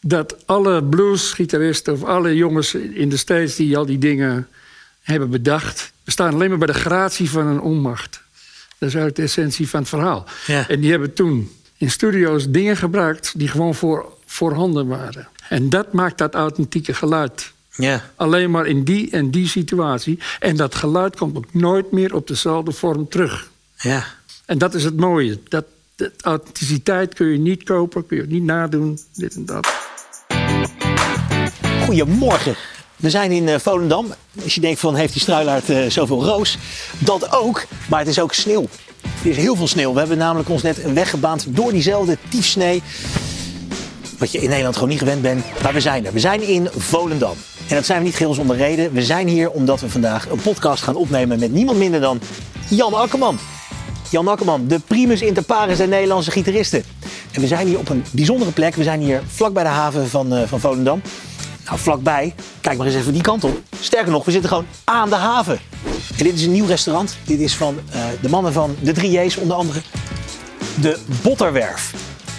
dat alle bluesgitaristen of alle jongens in de States die al die dingen hebben bedacht, staan alleen maar bij de gratie van een onmacht. Dat is uit de essentie van het verhaal. Ja. En die hebben toen in studio's dingen gebruikt die gewoon voor, voorhanden waren. En dat maakt dat authentieke geluid. Ja. Alleen maar in die en die situatie. En dat geluid komt ook nooit meer op dezelfde vorm terug. Ja. En dat is het mooie. Dat, dat authenticiteit kun je niet kopen, kun je ook niet nadoen, dit en dat. Goedemorgen. We zijn in eh, Volendam. Als je denkt van heeft die struilaard eh, zoveel roos? Dat ook, maar het is ook sneeuw. Er is heel veel sneeuw. We hebben namelijk ons net een weg gebaand door diezelfde tiefsnee. Wat je in Nederland gewoon niet gewend bent. Maar we zijn er. We zijn in Volendam. En dat zijn we niet geheel zonder reden. We zijn hier omdat we vandaag een podcast gaan opnemen met niemand minder dan Jan Akkerman. Jan Akkerman, de primus inter pares der Nederlandse gitaristen. En we zijn hier op een bijzondere plek. We zijn hier vlak bij de haven van, eh, van Volendam. Nou, vlakbij, kijk maar eens even die kant op. Sterker nog, we zitten gewoon aan de haven. En dit is een nieuw restaurant. Dit is van eh, de mannen van de 3J's onder andere. De Botterwerf.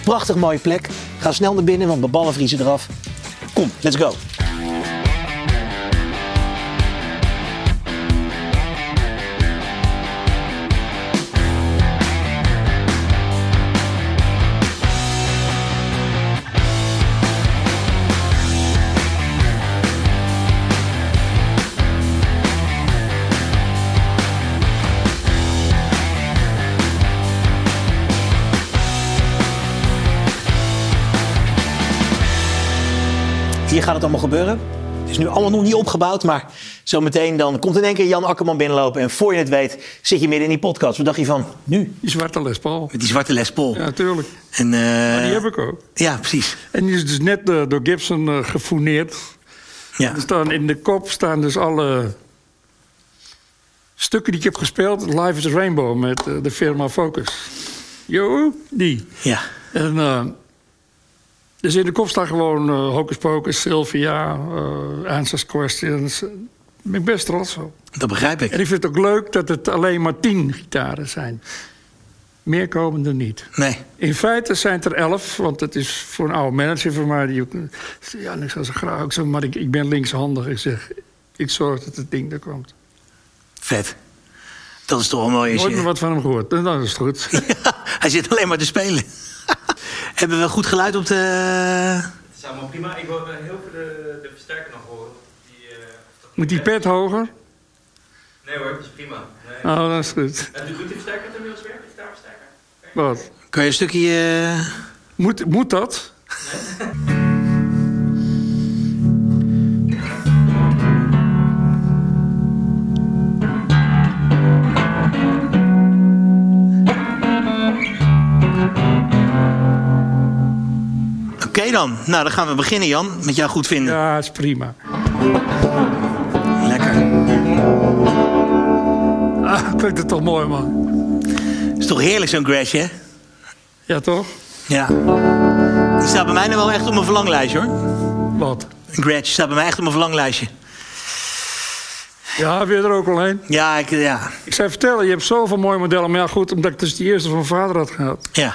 Prachtig mooie plek. Ga snel naar binnen, want de ballen vriezen eraf. Kom, let's go. Hier gaat het allemaal gebeuren. Het is nu allemaal nog niet opgebouwd, maar zometeen dan komt in één keer Jan Akkerman binnenlopen. En voor je het weet zit je midden in die podcast. Wat dacht je van nu? Die zwarte Les Paul. Met die zwarte Les Paul. Ja, natuurlijk. En, eh, Die heb ik ook. ja, precies. En die is dus net eh, door Gibson eh, gefouneerd. Ja. Er staan in de kop staan dus alle stukken die ik heb gespeeld. Live is a Rainbow met eh, de firma Focus. Jo, die. Ja. En, eh, dus in de kop staan gewoon eh, Hocus Pocus, Sylvia, eh, Answers Questions. Daar ben ik best trots op. Dat begrijp ik. En ik vind het ook leuk dat het alleen maar tien gitaren zijn. Meer komen er niet. Nee. In feite zijn het er elf, want het is voor een oude manager van mij. Die ook, ja, ik zou ze graag ook zo, maar ik, ik ben linkshandig. Ik zeg, ik zorg dat het ding er komt. Vet. Dat is toch wel mooi. als Nooit je- meer wat van hem gehoord. Nou, dat is het goed. Hij zit alleen maar te spelen. Hebben we goed geluid op de... Het is allemaal prima. Ik wil eh, heel veel de, de versterker nog horen. Die, eh, of dat- Moet die pet hoger? Nee hoor, het is prima. Nee. Nou, dat is goed. En doet doet die versterker het inmiddels weer? De gitaarversterker? Wat? Kan je een stukje... eh, Moet, moet dat? Oké dan. Nou, dan gaan we beginnen, Jan. Met jou goed vinden. Ja, is prima. Lekker. Ah, klinkt het toch mooi, man. Is toch heerlijk zo'n Grash, hè? Ja, toch? Ja. Die staat bij mij nou wel echt op mijn verlanglijstje, hoor. Wat? Een Grash staat bij mij echt op mijn verlanglijstje. Ja, weer er ook al een. Ja, ik... Ja. Ik zou vertellen, je hebt zoveel mooie modellen. Maar ja, goed, omdat ik dus die eerste van mijn vader had gehad. Ja.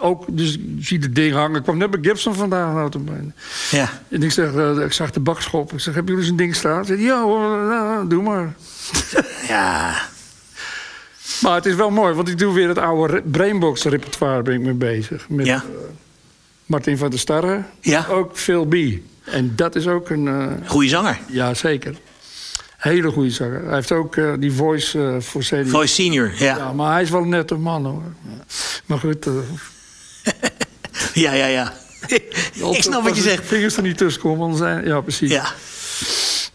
Ook, dus ik zie het ding hangen. Ik kwam net bij Gibson vandaan. Nou, te benen. Ja. En ik, zeg, eh, ik zag de bakschop. Ik zeg, hebben jullie zo'n ding staan? Ze zei, ja hoor, nou, doe maar. Ja. Maar het is wel mooi, want ik doe weer het oude re- Brainbox repertoire ben ik mee bezig. Met eh, Ja. Martin van der Starre, Ja. ook Phil B. En dat is ook een, eh, Goeie zanger. ja zeker, hele goede zanger. Hij heeft ook eh, die voice eh, voor CD. Voice senior. Ja, Ja. maar hij is wel net een man hoor. Ja. Maar goed, eh, Ja, ja, ja. ik snap wat je als de zegt. Vingers er niet tussen komen, anders zijn. Ja, precies. Ja.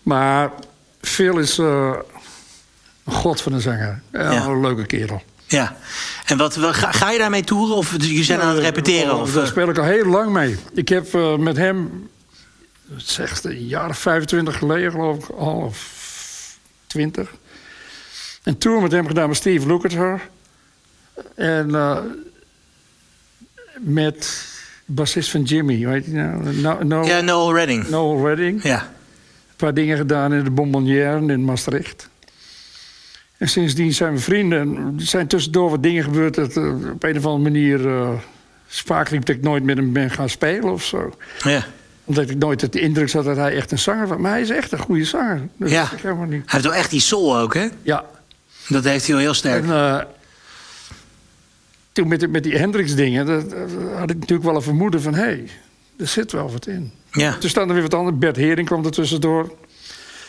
Maar Phil is eh, een god van een zanger. Ja, Ja. Een leuke kerel. Ja. En wat, wat- ga, ga je daarmee toeren of je zijn aan het repeteren? Oh, Of, Daar eh, speel ik al heel lang mee. Ik heb eh, met hem, het zegt een jaar of 25 geleden geloof ik, al of 20. Een tour met hem gedaan met Steve Lukather. En eh, met bassist van Jimmy, weet je nou? No, no, eh, ja, Noel Redding. Noel Redding. Ja. Een paar dingen gedaan in de Bonbonnière in Maastricht. En sindsdien zijn we vrienden. En Er zijn tussendoor wat dingen gebeurd dat eh, op een of andere manier... eh spaak liep dat ik nooit met hem ben gaan spelen of zo. ja. Omdat ik nooit de indruk had dat hij echt een zanger was. Maar hij is echt een goede zanger. Dat Ja. is ik helemaal niet. Hij heeft wel echt die soul ook, hè? Ja. Dat heeft hij wel heel sterk. En eh, toen met, die- met die Hendrix-dingen dat, dat had ik natuurlijk wel een vermoeden van... hé, hey, er zit wel wat in. Ja. Toen staan er weer wat anders. Bert Hering kwam er tussendoor.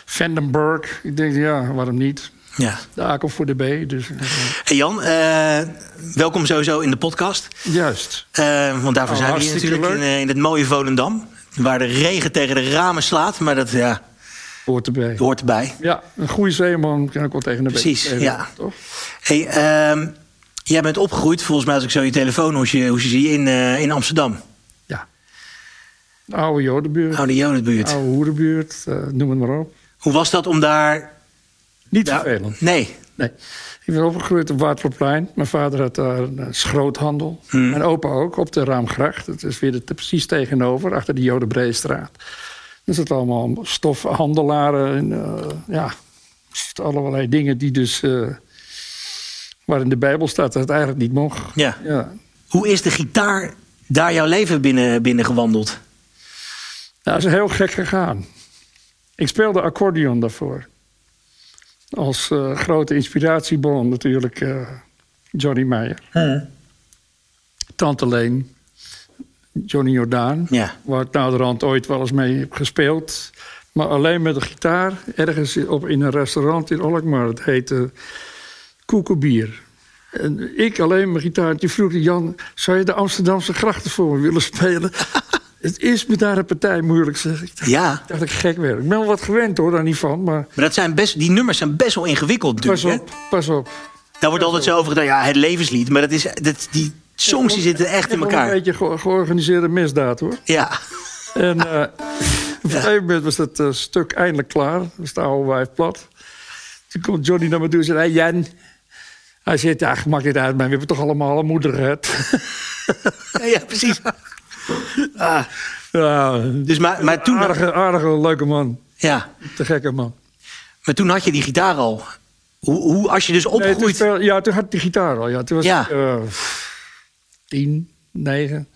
Vandenberg. Ik denk, ja, waarom niet? ja. De A komt voor de B. Dus, eh, Hey Jan, eh, welkom sowieso in de podcast. juist. Eh, want daarvoor Oh, zijn we hier hartstikke natuurlijk in, leuk. eh, in het mooie Volendam. Waar de regen tegen de ramen slaat, maar dat ja, Hoort erbij. hoort erbij. Ja, een goede zeeman kan ook wel tegen de beek. Precies, spelen, ja. Toch? Hey, ehm, jij bent opgegroeid, volgens mij als ik zo je telefoonhoesje hoesje zie, in, eh, in Amsterdam. Ja. De oude Jodenbuurt, Oude Jodenbuurt. oude Hoerenbuurt, eh, noem het maar op. Hoe was dat om daar... Niet Ja, vervelend. nee. Nee. Ik ben opgegroeid op Waterplein. Mijn vader had daar een eh, schroothandel. Hmm. Mijn opa ook, op de Raamgracht. Dat is weer de- te- precies tegenover, achter de Jodenbreestraat. Er zitten allemaal stofhandelaren en eh, ja, er zitten allerlei dingen die dus... eh, waar in de Bijbel staat dat het eigenlijk niet mocht. Ja. Ja, Hoe is de gitaar daar jouw leven binnen, binnen gewandeld? Nou, dat is heel gek gegaan. Ik speelde accordeon daarvoor. Als eh, grote inspiratiebron natuurlijk eh, Johnny Meyer. Tante Leen, Johnny Jordaan. Ja. Waar ik naderhand ooit wel eens mee heb gespeeld. Maar alleen met de gitaar. Ergens op, in een restaurant in Alkmaar. Het heette Koekenbier. En ik alleen mijn gitaar. Die vroeg die Jan, zou je de Amsterdamse grachten voor me willen spelen? het is me daar een partij moeilijk, zeg ik. Ja. Ik dacht dat ik gek werd. Ik ben wel wat gewend hoor, daar niet van. Maar Maar dat zijn best, die nummers zijn best wel ingewikkeld natuurlijk. pas hè? op, pas op. Daar wordt altijd zo over gedaan, ja, het levenslied. Maar dat is, dat, die songs die zitten echt in Ik heb wel elkaar. Een beetje ge- georganiseerde misdaad hoor. Ja, En eh, op een gegeven moment was dat eh, stuk eindelijk klaar. We staan oude wijf plat. Toen komt Johnny naar me toe en zei: hey, Jan. Hij zegt: Ja, maakt niet uit, maar we hebben toch allemaal een moeder gehad. ja precies. Ah, ja, een dus maar, maar, toen, aardige, aardige, leuke man. ja, Te gekke man. maar toen had je die gitaar al. Hoe, hoe, als je dus Nee, toen opgroeit... speel- ja, toen had ik die gitaar al. Ja. Toen was Ja. ik eh, tien, negen,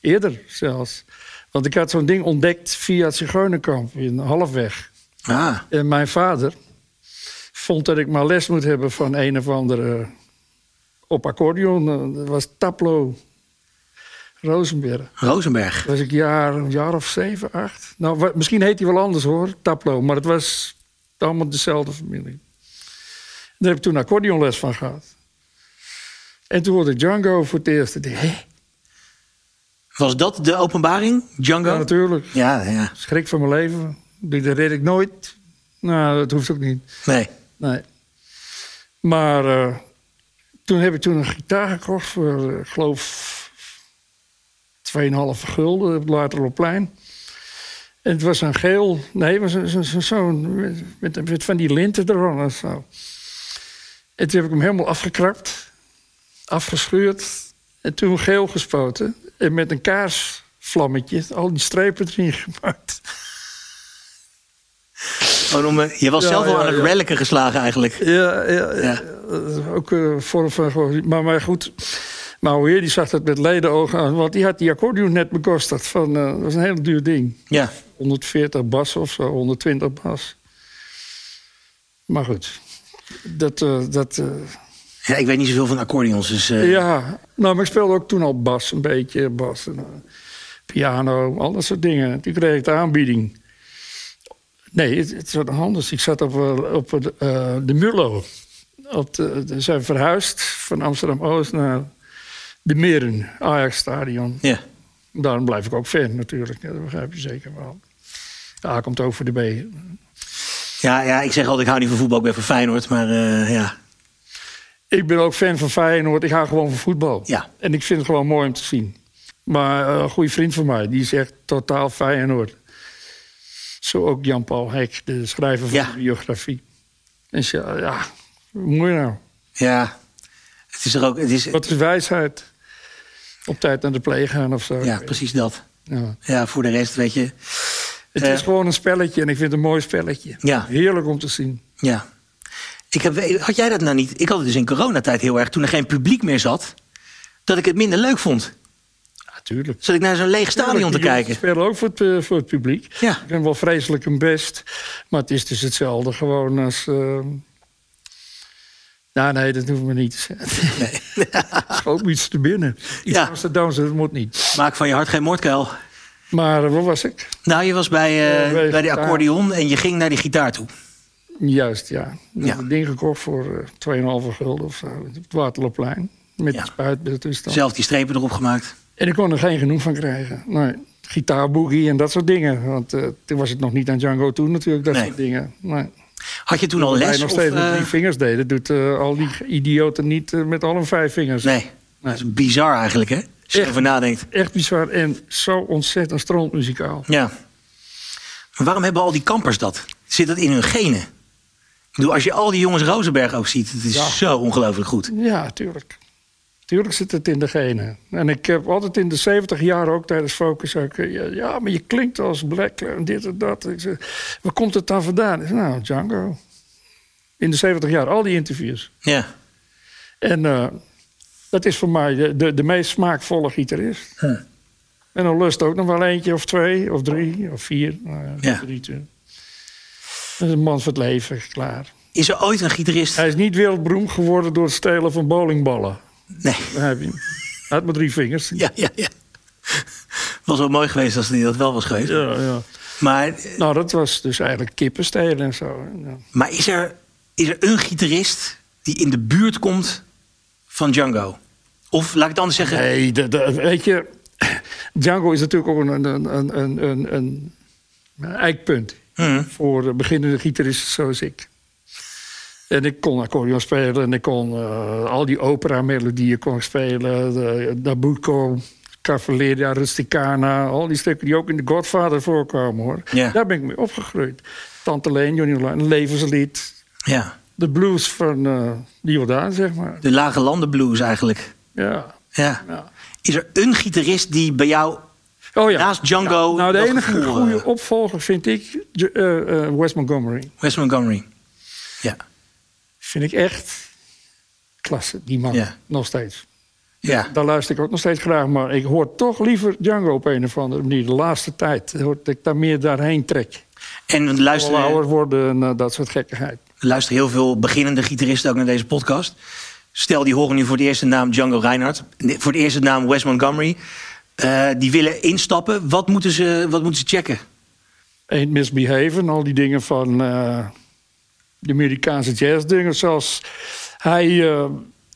eerder zelfs. Want ik had zo'n ding ontdekt via het Zigeunerkamp in Halfweg. Ah, En mijn vader vond dat ik maar les moet hebben van een of andere op accordeon. Eh, Dat was Taplo Rosenberg. Rosenberg. was ik jaar, een jaar of zeven, acht. Nou, wa- misschien heet hij wel anders hoor, Taplo. Maar het was allemaal dezelfde familie. Daar heb ik toen accordeonles van gehad. En toen hoorde ik Django voor het eerst. Ik dacht, Hé, Was dat de openbaring, ja, Django? natuurlijk. Ja, ja. Schrik van mijn leven. Ik dacht, Dat red ik nooit. Nou, dat hoeft ook niet. Nee. Nee. Maar eh, toen heb ik toen een gitaar gekocht voor, eh, ik geloof, 2,5 gulden op het Laterloopplein. En het was een geel, nee, het was een- zo'n zo'n- zo'n- met, met van die linten eronder en zo. En toen heb ik hem helemaal afgekrapt, afgeschuurd en toen geel gespoten. En met een kaarsvlammetje al die strepen erin gemaakt. Gewoon om, eh, je was Oh, Ja, zelf al ja, aan het ja. reliken geslagen eigenlijk. Ja, ja, ja. Ja. Dat is ook eh, een vorm van... gewoon- Maar, maar goed, Mauweer die zag dat met ledenogen aan. Want die had die accordeon net bekostigd. Van, eh, dat was een heel duur ding. Ja. 140 bas of zo, 120 bas. Maar goed, dat... eh, dat eh, ja. Ik weet niet zoveel van accordeons, dus... eh, ja, nou, maar ik speelde ook toen al bas, een beetje bas. En, eh, piano, al dat soort dingen. Toen kreeg ik de aanbieding. Nee, het, het was anders. Ik zat op, eh, op het, eh, de Mullo. Op de, ze zijn verhuisd van Amsterdam-Oost naar de Meren, Ajax-stadion. ja. Daarom blijf ik ook fan natuurlijk, Ja, dat begrijp je zeker wel. De A komt over de B. Ja, ja, ik zeg altijd, ik hou niet van voetbal, ik ben van Feyenoord, maar eh, ja. Ik ben ook fan van Feyenoord. Ik hou gewoon van voetbal. Ja. En ik vind het gewoon mooi om te zien. Maar eh, een goede vriend van mij, die is echt totaal Feyenoord. Zo ook Jan-Paul Hek, de schrijver van Ja. de biografie. En ze- ja, hoe moet je nou? Ja, het is er ook, het is, Wat is wijsheid? Op tijd naar de pleeg gaan of zo. ja, precies dat. Ja. Ja, voor de rest, weet je, Het Eh. is gewoon een spelletje en ik vind het een mooi spelletje. Ja. Heerlijk om te zien. ja. Ik heb, had jij dat nou niet? Ik had het dus in coronatijd heel erg, toen er geen publiek meer zat, dat ik het minder leuk vond. Ja, tuurlijk. Zat ik naar zo'n leeg stadion te Tuurlijk, die kijken. jongens spelen ook voor het, eh, voor het publiek. Ja. Ik ben wel vreselijk hun best. Maar het is dus hetzelfde gewoon als... eh, Nou, nee, dat hoeven we niet te zeggen. Schoot me iets te binnen. Iets Ja. ja. Amsterdamse, dus dat moet niet. Maak van je hart geen moordkuil. Maar eh, waar was ik? Nou, je was bij, eh, Ja, bij bij die gitaar. accordeon en je ging naar die gitaar toe. Juist, ja. Ik Ja. heb een ding gekocht voor eh 2,5 gulden of zo. Op het Waterloopplein. Met Ja. de spuit ertussen. Zelf die strepen erop gemaakt. En ik kon er geen genoeg van krijgen. Nee, gitaarboogie en dat soort dingen. Want eh, toen was het nog niet aan Django toe natuurlijk, dat Nee. soort dingen. Nee. Had je toen al Wat wij les? nog of, steeds met eh, drie vingers deden, dat doet eh, al die idioten niet eh, met alle vijf vingers. nee, dat is bizar eigenlijk, hè? Als je Echt. erover nadenkt. Echt bizar en zo ontzettend stroommuzikaal. Ja. Maar waarom hebben al die kampers dat? Zit dat in hun genen? Ik bedoel, als je al die jongens Rozenberg ook ziet, het is Ja. zo ongelooflijk goed. Ja, tuurlijk. Tuurlijk zit het in de genen. En ik heb altijd in de 70 jaar ook tijdens Focus... Ook, eh, ja, ja, maar je klinkt als Black en dit en dat. Ik zeg, waar komt het dan vandaan? Ik zeg, nou, Django. In de 70 jaar, al die interviews. Ja. En eh, dat is voor mij de, de, de meest smaakvolle gitarist. En dan lust ook nog wel eentje of twee, of drie, of vier. Nou ja, Ja. drie, twee. Dat is een man van het leven, klaar. Is er ooit een gitarist? Hij is niet wereldberoemd geworden door het stelen van bowlingballen. Nee. Daar heb je hem. Hij had maar drie vingers. Ja. Ja, ja, ja. Was wel mooi geweest als hij dat wel was geweest. Ja, Maar, Nou, dat was dus eigenlijk kippenstelen en zo. Ja. maar is, er, is er een gitarist die in de buurt komt van Django? Of laat ik het anders zeggen. Nee, dat- dat- weet je... Django is natuurlijk ook een, een, een, een, een, een eikpunt. Hm. voor eh, beginnende gitaristen zoals ik. En ik kon accordeon spelen en ik kon eh, al die opera-melodieën kon ik spelen. De, Nabucco, Cavalleria, Rusticana, al die stukken die ook in The Godfather voorkwamen hoor. Ja. Daar ben ik mee opgegroeid. Tante Leen, Johnny Laan, Levenslied, Ja, de blues van eh Jordaan zeg maar. de lage landen blues eigenlijk. Ja. Ja. Ja. Is er een gitarist die bij jou Oh ja. naast Django. nou, de dat enige gevoel, goede eh, opvolger vind ik J- eh, eh, Wes Montgomery. Wes Montgomery. Ja. Vind ik echt klasse, die man. Ja. Nog steeds. ja. Daar luister ik ook nog steeds graag, maar ik hoor toch liever Django op een of andere manier. De laatste tijd hoor dat ik daar meer daarheen trek. En Al ouder luisteren, worden en eh, dat soort gekkigheid. luisteren heel veel beginnende gitaristen ook naar deze podcast. Stel, die horen nu voor het eerst de naam Django Reinhardt. nee, Voor het eerst de naam Wes Montgomery. Eh, die willen instappen. Wat moeten ze, wat moeten ze checken? Ain't Misbehaven, al die dingen van eh, de Amerikaanse jazzdingen. Zoals hij, eh,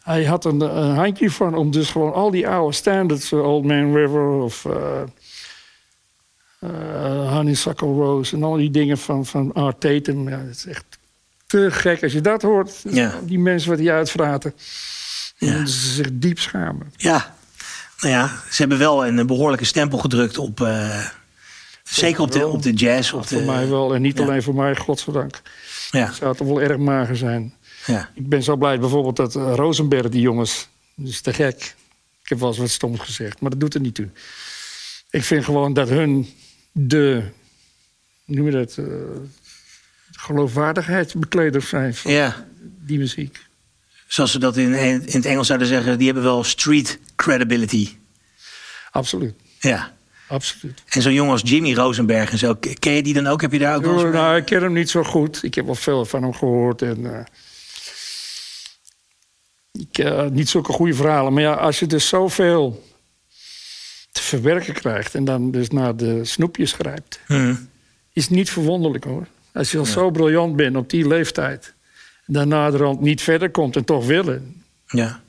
hij had een, een handje van om dus gewoon al die oude standards, eh, Old Man River of eh eh, Honeysuckle Rose en al die dingen van, van Art Tatum. Ja, dat is echt te gek als je dat hoort. Ja. Die mensen wat die uitvraten. Ja. Ja. Ze zich diep schamen. Ja. Nou ja, ze hebben wel een behoorlijke stempel gedrukt op. eh, zeker op de, op de jazz. Op de, Voor mij wel en niet eh, ja. alleen voor mij, godzijdank. Ja. Het zou toch wel erg mager zijn. ja. Ik ben zo blij bijvoorbeeld dat eh, Rosenberg, die jongens, dat is te gek. Ik heb wel eens wat stoms gezegd, maar dat doet er niet toe. Ik vind gewoon dat hun de, hoe noem je dat, eh, geloofwaardigheidsbekleders zijn van ja. die muziek. Zoals ze dat in, in het Engels zouden zeggen, die hebben wel street credibility. Absoluut, Ja. absoluut. En zo'n jongen als Jimmy Rosenberg en zo, ken je die dan ook? Heb je daar ook wel eens Oh, mee- nou, ik ken hem niet zo goed. Ik heb wel veel van hem gehoord. En, eh, ik, eh, niet zulke goede verhalen. Maar ja, als je dus zoveel te verwerken krijgt... en dan dus naar de snoepjes grijpt... Hm. is niet verwonderlijk hoor. Als je al zo briljant bent op die leeftijd... dan naderhand niet verder komt en toch willen... Ja.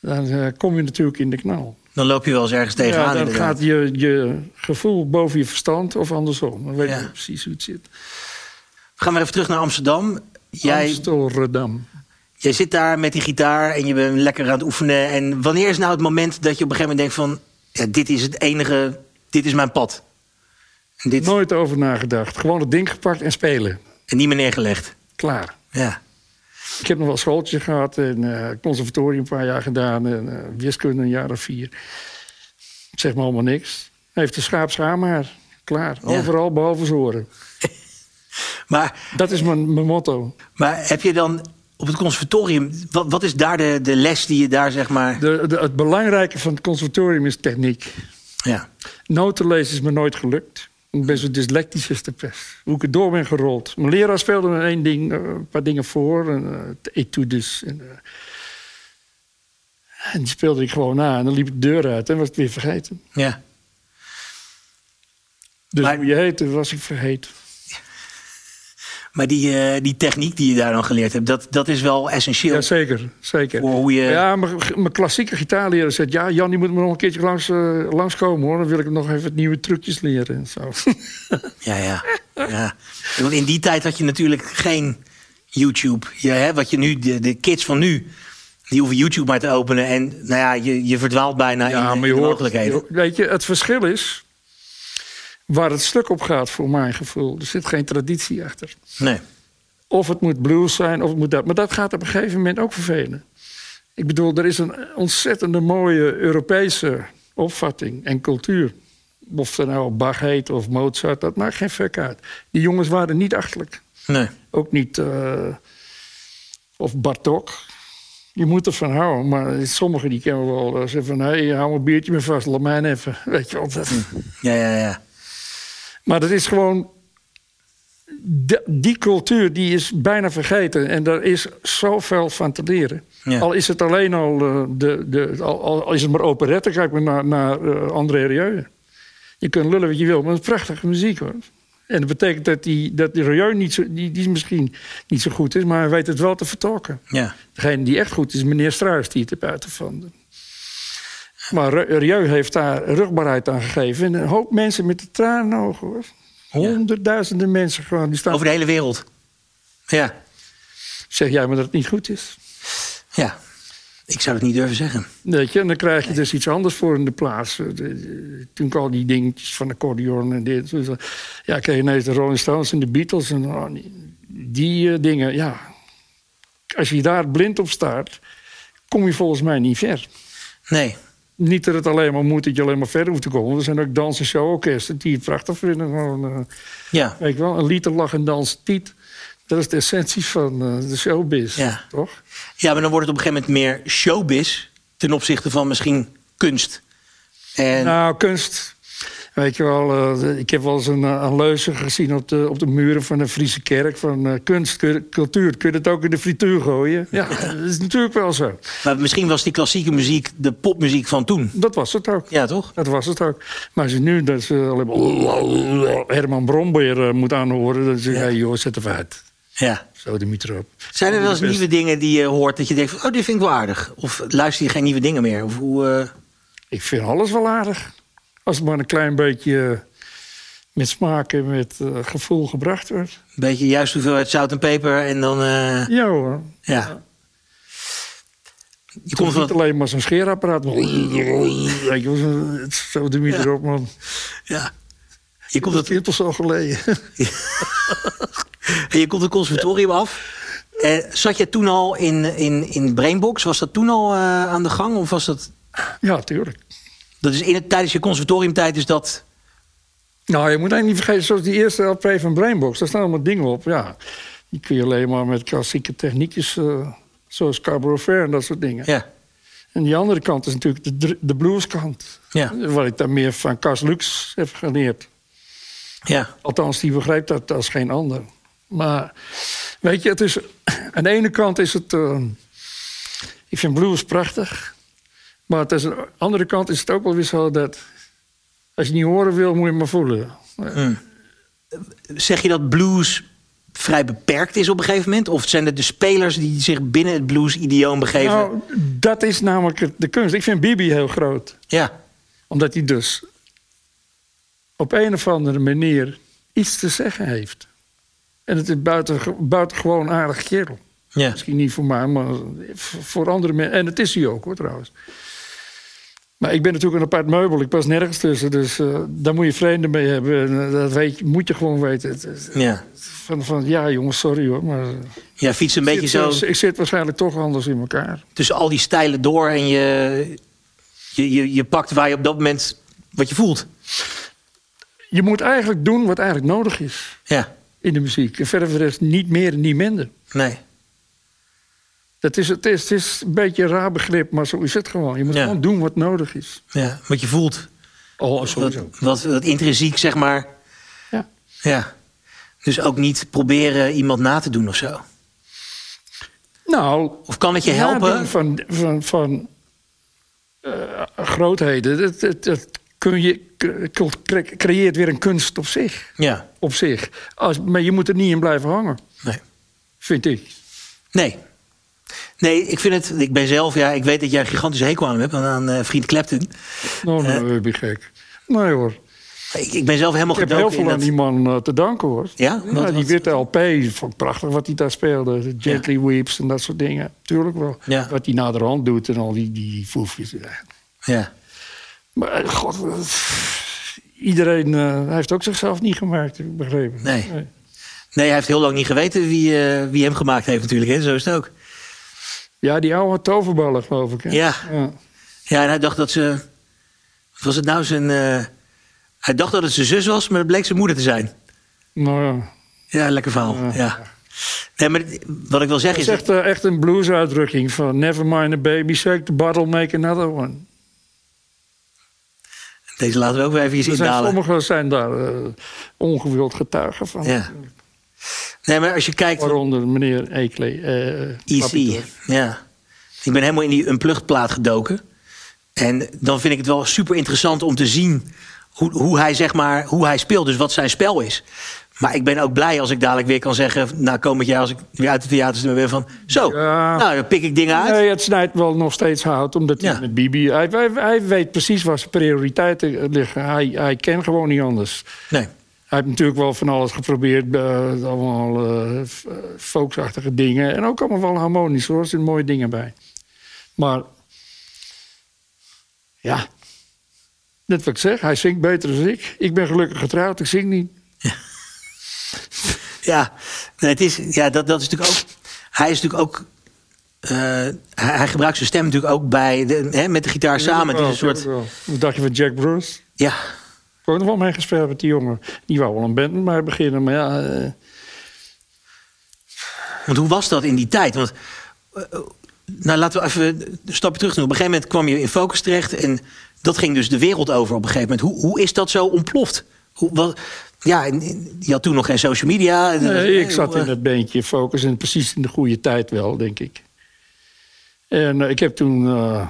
dan eh, kom je natuurlijk in de knal. Dan loop je wel eens ergens tegenaan. Ja, dan inderdaad. gaat je, je gevoel boven je verstand of andersom. Dan weet Ja. je precies hoe het zit. We gaan maar even terug naar Amsterdam. Jij, Amsterdam. jij zit daar met die gitaar en je bent lekker aan het oefenen. En wanneer is nou het moment dat je op een gegeven moment denkt van... Ja, dit is het enige, dit is mijn pad. En, dit, Nooit over nagedacht. Gewoon het ding gepakt en spelen. en niet meer neergelegd. Klaar. Ja. Ik heb nog wel schooltje gehad en eh conservatorium een paar jaar gedaan en eh, wiskunde een jaar of vier. Zeg maar allemaal niks. Heeft de schaap schaamhaar. Klaar. Ja. Overal behalve zoren. Maar, Dat is mijn, mijn motto. maar heb je dan op het conservatorium, wat, wat is daar de, de les die je daar zeg maar... De, de, het belangrijke van het conservatorium is techniek. Ja, Noten lezen is me nooit gelukt. Ik ben zo dyslectisch als de pers. Hoe ik er door ben gerold. Mijn leraar speelde me één ding, eh, een paar dingen voor. En, eh, het etudes. En, eh, en die speelde ik gewoon na. En dan liep ik de deur uit en was het weer vergeten. ja. Dus Maar- hoe je heette was ik vergeten. Maar die, eh, die techniek die je daar dan geleerd hebt, dat, dat is wel essentieel. Ja, zeker. zeker. Voor hoe je- Ja, mijn mijn klassieke gitaarleraar zegt... ja, Jan, die moet me nog een keertje langs, eh, langskomen, hoor. Dan wil ik hem nog even wat nieuwe trucjes leren en zo. Ja, ja. ja. Want in die tijd had je natuurlijk geen YouTube. Je, hè, wat je nu, de, de kids van nu, die hoeven YouTube maar te openen. En nou ja, je, je verdwaalt bijna Ja, in, maar in je de hoort, mogelijkheden. je- weet je, het verschil is waar het stuk op gaat voor mijn gevoel. Er zit geen traditie achter. Nee. Of het moet blues zijn, of het moet dat. Maar dat gaat op een gegeven moment ook vervelen. Ik bedoel, er is een ontzettende mooie Europese opvatting en cultuur. Of er nou Bach heet of Mozart, dat maakt geen fuck uit. Die jongens waren niet achterlijk. Nee. Ook niet. eh, of Bartok. Je moet ervan houden, maar sommigen die kennen we wel. eh, Zeggen van, hé, hey, hou een biertje me vast, laat mij even. Weet je wel. dat- Ja, ja, ja. Maar dat is gewoon... de- die cultuur die is bijna vergeten. En daar is zoveel van te leren. Ja. Al is het alleen al... eh, de, de, al, al- al is het maar operette, kijk maar naar, naar eh, André Rieu. Je kunt lullen wat je wil, maar het is prachtige muziek hoor. En dat betekent dat die, dat die Rieu niet zo, die, die misschien niet zo goed is... maar hij weet het wel te vertolken. ja. Degene die echt goed is, meneer Struis, die het heeft uitgevonden. Maar Ri- Rieu heeft daar rugbaarheid aan gegeven. En een hoop mensen met de tranen in de ogen, hoor. Honderdduizenden mensen gewoon. Die staan. Over de hele wereld. Ja. Zeg jij maar dat het niet goed is. Ja. Ik zou het niet durven zeggen. Weet je, en dan krijg je dus iets anders voor in de plaats. Eh, de- de- Toen ik al die dingetjes van accordeon en dit. dus, eh, ja, kreeg je ineens de Rolling Stones en de Beatles en oh, die- die eh, dingen. Ja, als je daar blind op staat, kom je volgens mij niet ver. Nee. Niet dat het alleen maar moet dat je alleen maar verder hoeft te komen. Er zijn ook dans- en showorkesten die het prachtig vinden. Gewoon, eh, Ja. weet je wel, een liter lach en dans, tiet. Dat is de essentie van eh, de showbiz, Ja. toch? Ja, maar dan wordt het op een gegeven moment meer showbiz ten opzichte van misschien kunst. En Nou, kunst. Weet je wel, eh, ik heb wel eens een, eh, een leuze gezien op de, op de muren van de Friese kerk. Van eh, kunst, kun- cultuur, kun je het ook in de frituur gooien? Ja, dat is natuurlijk wel zo. maar misschien was die klassieke muziek de popmuziek van toen. Dat was het ook. Ja, toch? Dat was het ook. Maar als je nu dat ze alleen maar Herman Brombeer eh, moet aanhoren, dan zeg je, hey, joh, zet even uit. Ja. Zo de mieter op. Zijn er wel eens Best. nieuwe dingen die je hoort dat je denkt van, oh, dit vind ik wel aardig? Of luister je geen nieuwe dingen meer? Of hoe, eh, Ik vind alles wel aardig. Als het maar een klein beetje eh, met smaak en met eh, gevoel gebracht wordt. een beetje juist hoeveelheid zout en peper en dan, eh, Ja hoor. ja. Je Het komt is van niet het, alleen maar zo'n scheerapparaat. Weet je wel, zo- het is zo de mieter op, man. ja. je komt Dat het, is al geleden. je komt het conservatorium af. Eh, zat je toen al in, in, in Brainbox? Was dat toen al eh, aan de gang? Of was dat, ja, tuurlijk. dat is in het, tijdens je conservatoriumtijd is dat... Nou, je moet eigenlijk niet vergeten, zoals die eerste LP van Brainbox, daar staan allemaal dingen op. Ja, die kun je alleen maar met klassieke techniekjes, eh, zoals Carbon Fair en dat soort dingen. Ja, En die andere kant is natuurlijk de, dr- de blueskant. ja, Waar ik dan meer van Cas Lux heb geleerd. ja. Althans, die begrijpt dat als geen ander. Maar weet je, het is, aan de ene kant is het. eh, ik vind blues prachtig. Maar het is, aan de andere kant is het ook wel weer zo dat. Als je niet horen wil, moet je maar voelen. Zeg je dat blues vrij beperkt is op een gegeven moment? Of zijn het de spelers die zich binnen het blues-idioom begeven? Nou, dat is namelijk het- de kunst. Ik vind Bibi heel groot. Ja, Omdat hij dus op een of andere manier iets te zeggen heeft. En het is buiten, buitengewoon aardig kerel. ja. Misschien niet voor mij, maar voor voor andere mensen. En het is hij ook hoor trouwens. Maar ik ben natuurlijk een apart meubel. Ik pas nergens tussen. Dus eh, daar moet je vreemden mee hebben. En, eh, dat weet, je- moet je gewoon weten. Het is ja. Van, van, ja jongens, sorry hoor. Maar eh, Ja, fiets een beetje ik, zo ik zit waarschijnlijk toch anders in elkaar. tussen al die stijlen door en je, je, je, je pakt waar je op dat moment wat je voelt. Je moet eigenlijk doen wat eigenlijk nodig is Ja, in de muziek. En verder voor de rest niet meer en niet minder. nee. Dat is, het, is, het is een beetje een raar begrip, maar zo is het gewoon. Je moet Ja. gewoon doen wat nodig is. Ja, wat je voelt. Oh, Wat, wat, wat intrinsiek, zeg maar. Ja. Ja. Dus ook niet proberen iemand na te doen of zo. Nou, Of kan het je helpen? nadoen Van, van, van eh, grootheden, dat, dat, dat kun je, cre- creëert weer een kunst op zich. Ja. Op zich. Als, maar je moet er niet in blijven hangen, Nee. vind ik. Nee. Nee, ik vind het. Ik ben zelf, ja, ik weet dat jij een gigantische hekel aan hem hebt, aan eh, vriend Clapton. Nou, nou ben je gek. Nee hoor. Ik, ik ben zelf helemaal Ik heb heel gedoken in veel aan dat. die man eh, te danken hoor. Ja? Wat- die wat- witte LP, vond ik prachtig wat hij daar speelde. Gently Weeps en dat soort dingen. Tuurlijk wel. Ja. Wat hij naderhand doet en al die, die eh, foefjes. Ja. Maar eh, god, eh, pff, iedereen eh, hij heeft ook zichzelf niet gemaakt, heb ik begrepen. Nee. Nee, hij heeft heel lang niet geweten wie, eh, wie hem gemaakt heeft, natuurlijk. Hè? Zo is het ook. Ja, die oude toverballen, geloof ik. Hè? Ja. Ja, en hij dacht dat ze. Wat was het nou zijn. eh, hij dacht dat het zijn zus was, maar het bleek zijn moeder te zijn. Nou ja. Ja, lekker verhaal. Ja. Nee, maar wat ik wil Het zeggen is is. echt, eh, echt een blues-uitdrukking van... Never mind a baby, shake the bottle, make another one. Deze laten we ook weer even iets Er zijn indalen. sommigen zijn daar eh, ongewild getuigen van. Ja. Nee, maar als je kijkt. Waaronder meneer Eekle. eh, EC. Papito. Ja. Ik ben helemaal in die unplugged plaat gedoken. En dan vind ik het wel super interessant om te zien hoe, hoe, hij, zeg maar, hoe hij speelt. Dus wat zijn spel is. Maar ik ben ook blij als ik dadelijk weer kan zeggen... na komend jaar als ik weer uit de theaters ben van... zo, Ja. nou, dan pik ik dingen uit. Nee, het snijdt wel nog steeds hout, omdat hij Ja. met Bibi... Hij, hij, hij weet precies waar zijn prioriteiten liggen. Hij, hij kent gewoon niet anders. Nee. Hij heeft natuurlijk wel van alles geprobeerd. eh, allemaal eh, f- eh, folksachtige dingen. En ook allemaal wel harmonisch hoor. Er zitten mooie dingen bij. Maar ja, net wat ik zeg. Hij zingt beter dan ik. Ik ben gelukkig getrouwd. Ik zing niet. Ja, nee, het is, ja dat, dat is natuurlijk ook. Hij is natuurlijk ook. eh, hij, hij gebruikt zijn stem natuurlijk ook bij de, hè, met de gitaar samen. Het is een soort. Wel, wel. Wat dacht je van Jack Bruce? Ja, Ik heb ook nog wel mee gespeeld met die jongen. Die wou wel een band met mij beginnen. Maar ja, eh, want hoe was dat in die tijd? Want. eh, eh, nou, laten we even een stapje terug doen. Op een gegeven moment kwam je in Focus terecht. En dat ging dus de wereld over op een gegeven moment. Hoe, hoe is dat zo ontploft? Hoe, wat, ja, en- en je had toen nog geen social media. Nee, ik zat Hoe, in eh, dat beentje Focus en precies in de goede tijd wel, denk ik. En eh, ik heb toen... eh,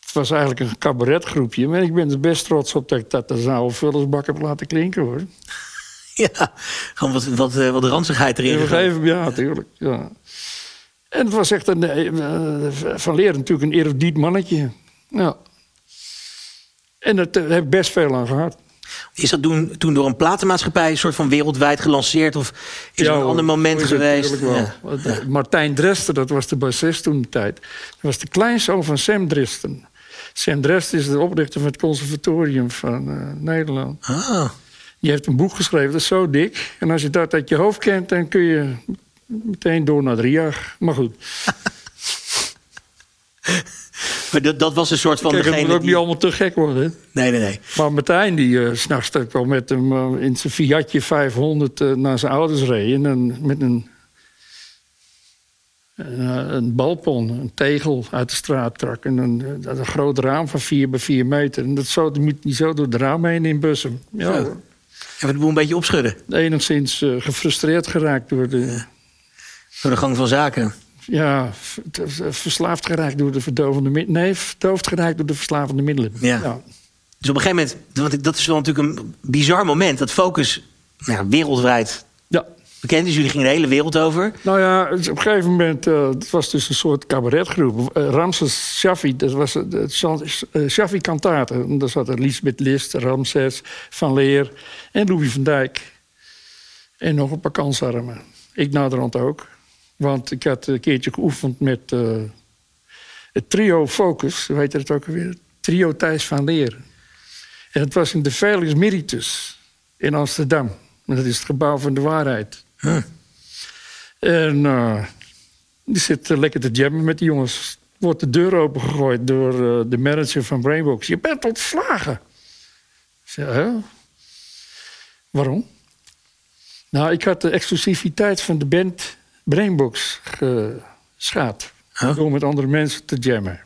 het was eigenlijk een cabaretgroepje, maar ik ben er best trots op dat ik dat als een oude vullersbak heb laten klinken, hoor. Ja, gewoon wat, wat, eh, wat ranzigheid erin. Ja, gegooid. gegeven, ja, tuurlijk. Ja. En het was echt een... eh, eh, van Leer natuurlijk een erudiet mannetje. Ja. En daar heb ik best veel aan gehad. Is dat toen, toen door een platenmaatschappij een soort van wereldwijd gelanceerd? Of is er een hoor, ander moment is het geweest? natuurlijk wel. Ja. Want, eh, Martijn Dresden, dat was de bassist toen de tijd. Dat was de kleinzoon van Sam Dresden. Sam Dresden is de oprichter van het conservatorium van eh, Nederland. Ah, Die heeft een boek geschreven, dat is zo dik. En als je dat uit je hoofd kent, dan kun je meteen door naar drie jaar. Maar goed, maar dat, dat was een soort van kijk, het moet degene ook niet die... allemaal te gek worden. hè. Nee, nee, nee. Maar Martijn, die eh, 's s'nachts wel met hem eh, in zijn Fiatje 500 eh, naar zijn ouders reed. En dan met een, een, eh, een balpon, een tegel uit de straat trak. En een, eh, een groot raam van 4 bij 4 meter. En dat zo, die moet niet zo door het raam heen in Bussum. Ja, Zo. hoor. Even de boel een beetje opschudden enigszins eh, gefrustreerd geraakt door de... door de gang van zaken. Ja, v- t- eh, verslaafd geraakt door de verdovende middelen. Nee, verdoofd geraakt door de verslavende middelen. Ja. Dus op een gegeven moment, want dat is wel natuurlijk een bizar moment. Dat Focus nou, ja, wereldwijd ja. bekend is. Jullie gingen de hele wereld over. Nou ja, dus op een gegeven moment, eh, het was dus een soort cabaretgroep. Eh, Ramses Shaffi, dat was het- het Jean- eh, Shaffi Kantate. En Daar zat Elisabeth List, Ramses, Van Leer en Louis van Dijk. En nog een paar kansarmen. Ik naderhand ook. Want ik had een keertje geoefend met eh, het trio Focus. Hoe heette het ook alweer? Trio Thijs van Leer. En het was in de Veilings Meritus in Amsterdam. En dat is het gebouw van de waarheid. En eh, die zit eh, lekker te jammen met die jongens. Wordt de deur opengegooid door eh, de manager van Brainbox. Je bent ontslagen. Ik zei, hè? Waarom? Nou, ik had de exclusiviteit van de band Brainbox ge- schaat. Huh? Door met andere mensen te jammen.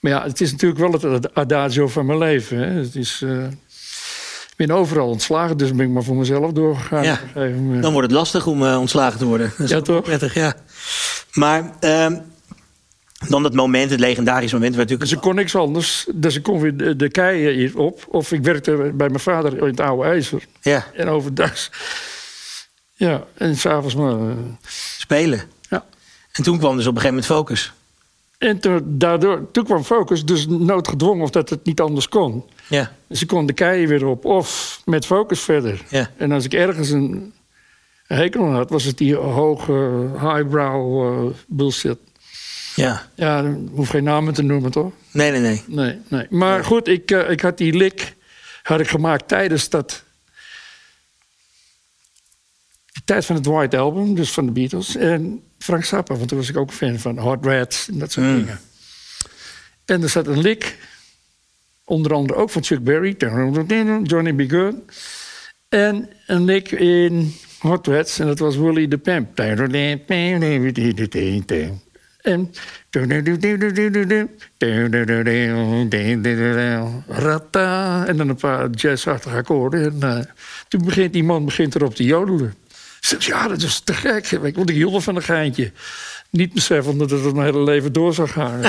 Maar ja, het is natuurlijk wel het ad- adagio van mijn leven. Hè. Het is, eh, ik ben overal ontslagen, dus ben ik maar voor mezelf doorgegaan. Ja. op een gegeven moment. Dan wordt het lastig om eh, ontslagen te worden. Dat is Ja, ook wel toch? Prettig, ja. Maar ehm, dan dat moment, het legendarisch moment, waar Dus natuurlijk ik kon niks anders. Dus ik kon weer de, de keien hier op. Of ik werkte bij mijn vader in het oude ijzer. ja, En overdag. Ja, en s'avonds maar. eh, spelen. Ja. En toen kwam dus op een gegeven moment focus. En toen, daardoor, toen kwam Focus, dus noodgedwongen of dat het niet anders kon. Ja, Dus ik kon de keien weer op. Of met Focus verder. ja, En als ik ergens een een hekel aan had, was het die hoge highbrow eh, bullshit. ja. Ja, dan hoef geen namen te noemen, toch? Nee, nee, nee. Nee, nee. Maar goed, ik, eh, ik had die lik had ik gemaakt tijdens dat... De tijd van het White Album, dus van de Beatles. En Frank Zappa, want toen was ik ook fan van Hot Rats en dat soort Mm. dingen. En er zat een lik, onder andere ook van Chuck Berry, Johnny B. Good. En een lik in Hot Rats, en dat was Willy the Pimp. En... Rata, en dan een paar jazzachtige akkoorden. En eh, toen begint die man begint erop te jodelen. Ik zeg, ja, dat is te gek. zeg ik, Want ik hield wel van een geintje. Niet beseffende dat het mijn hele leven door zou gaan.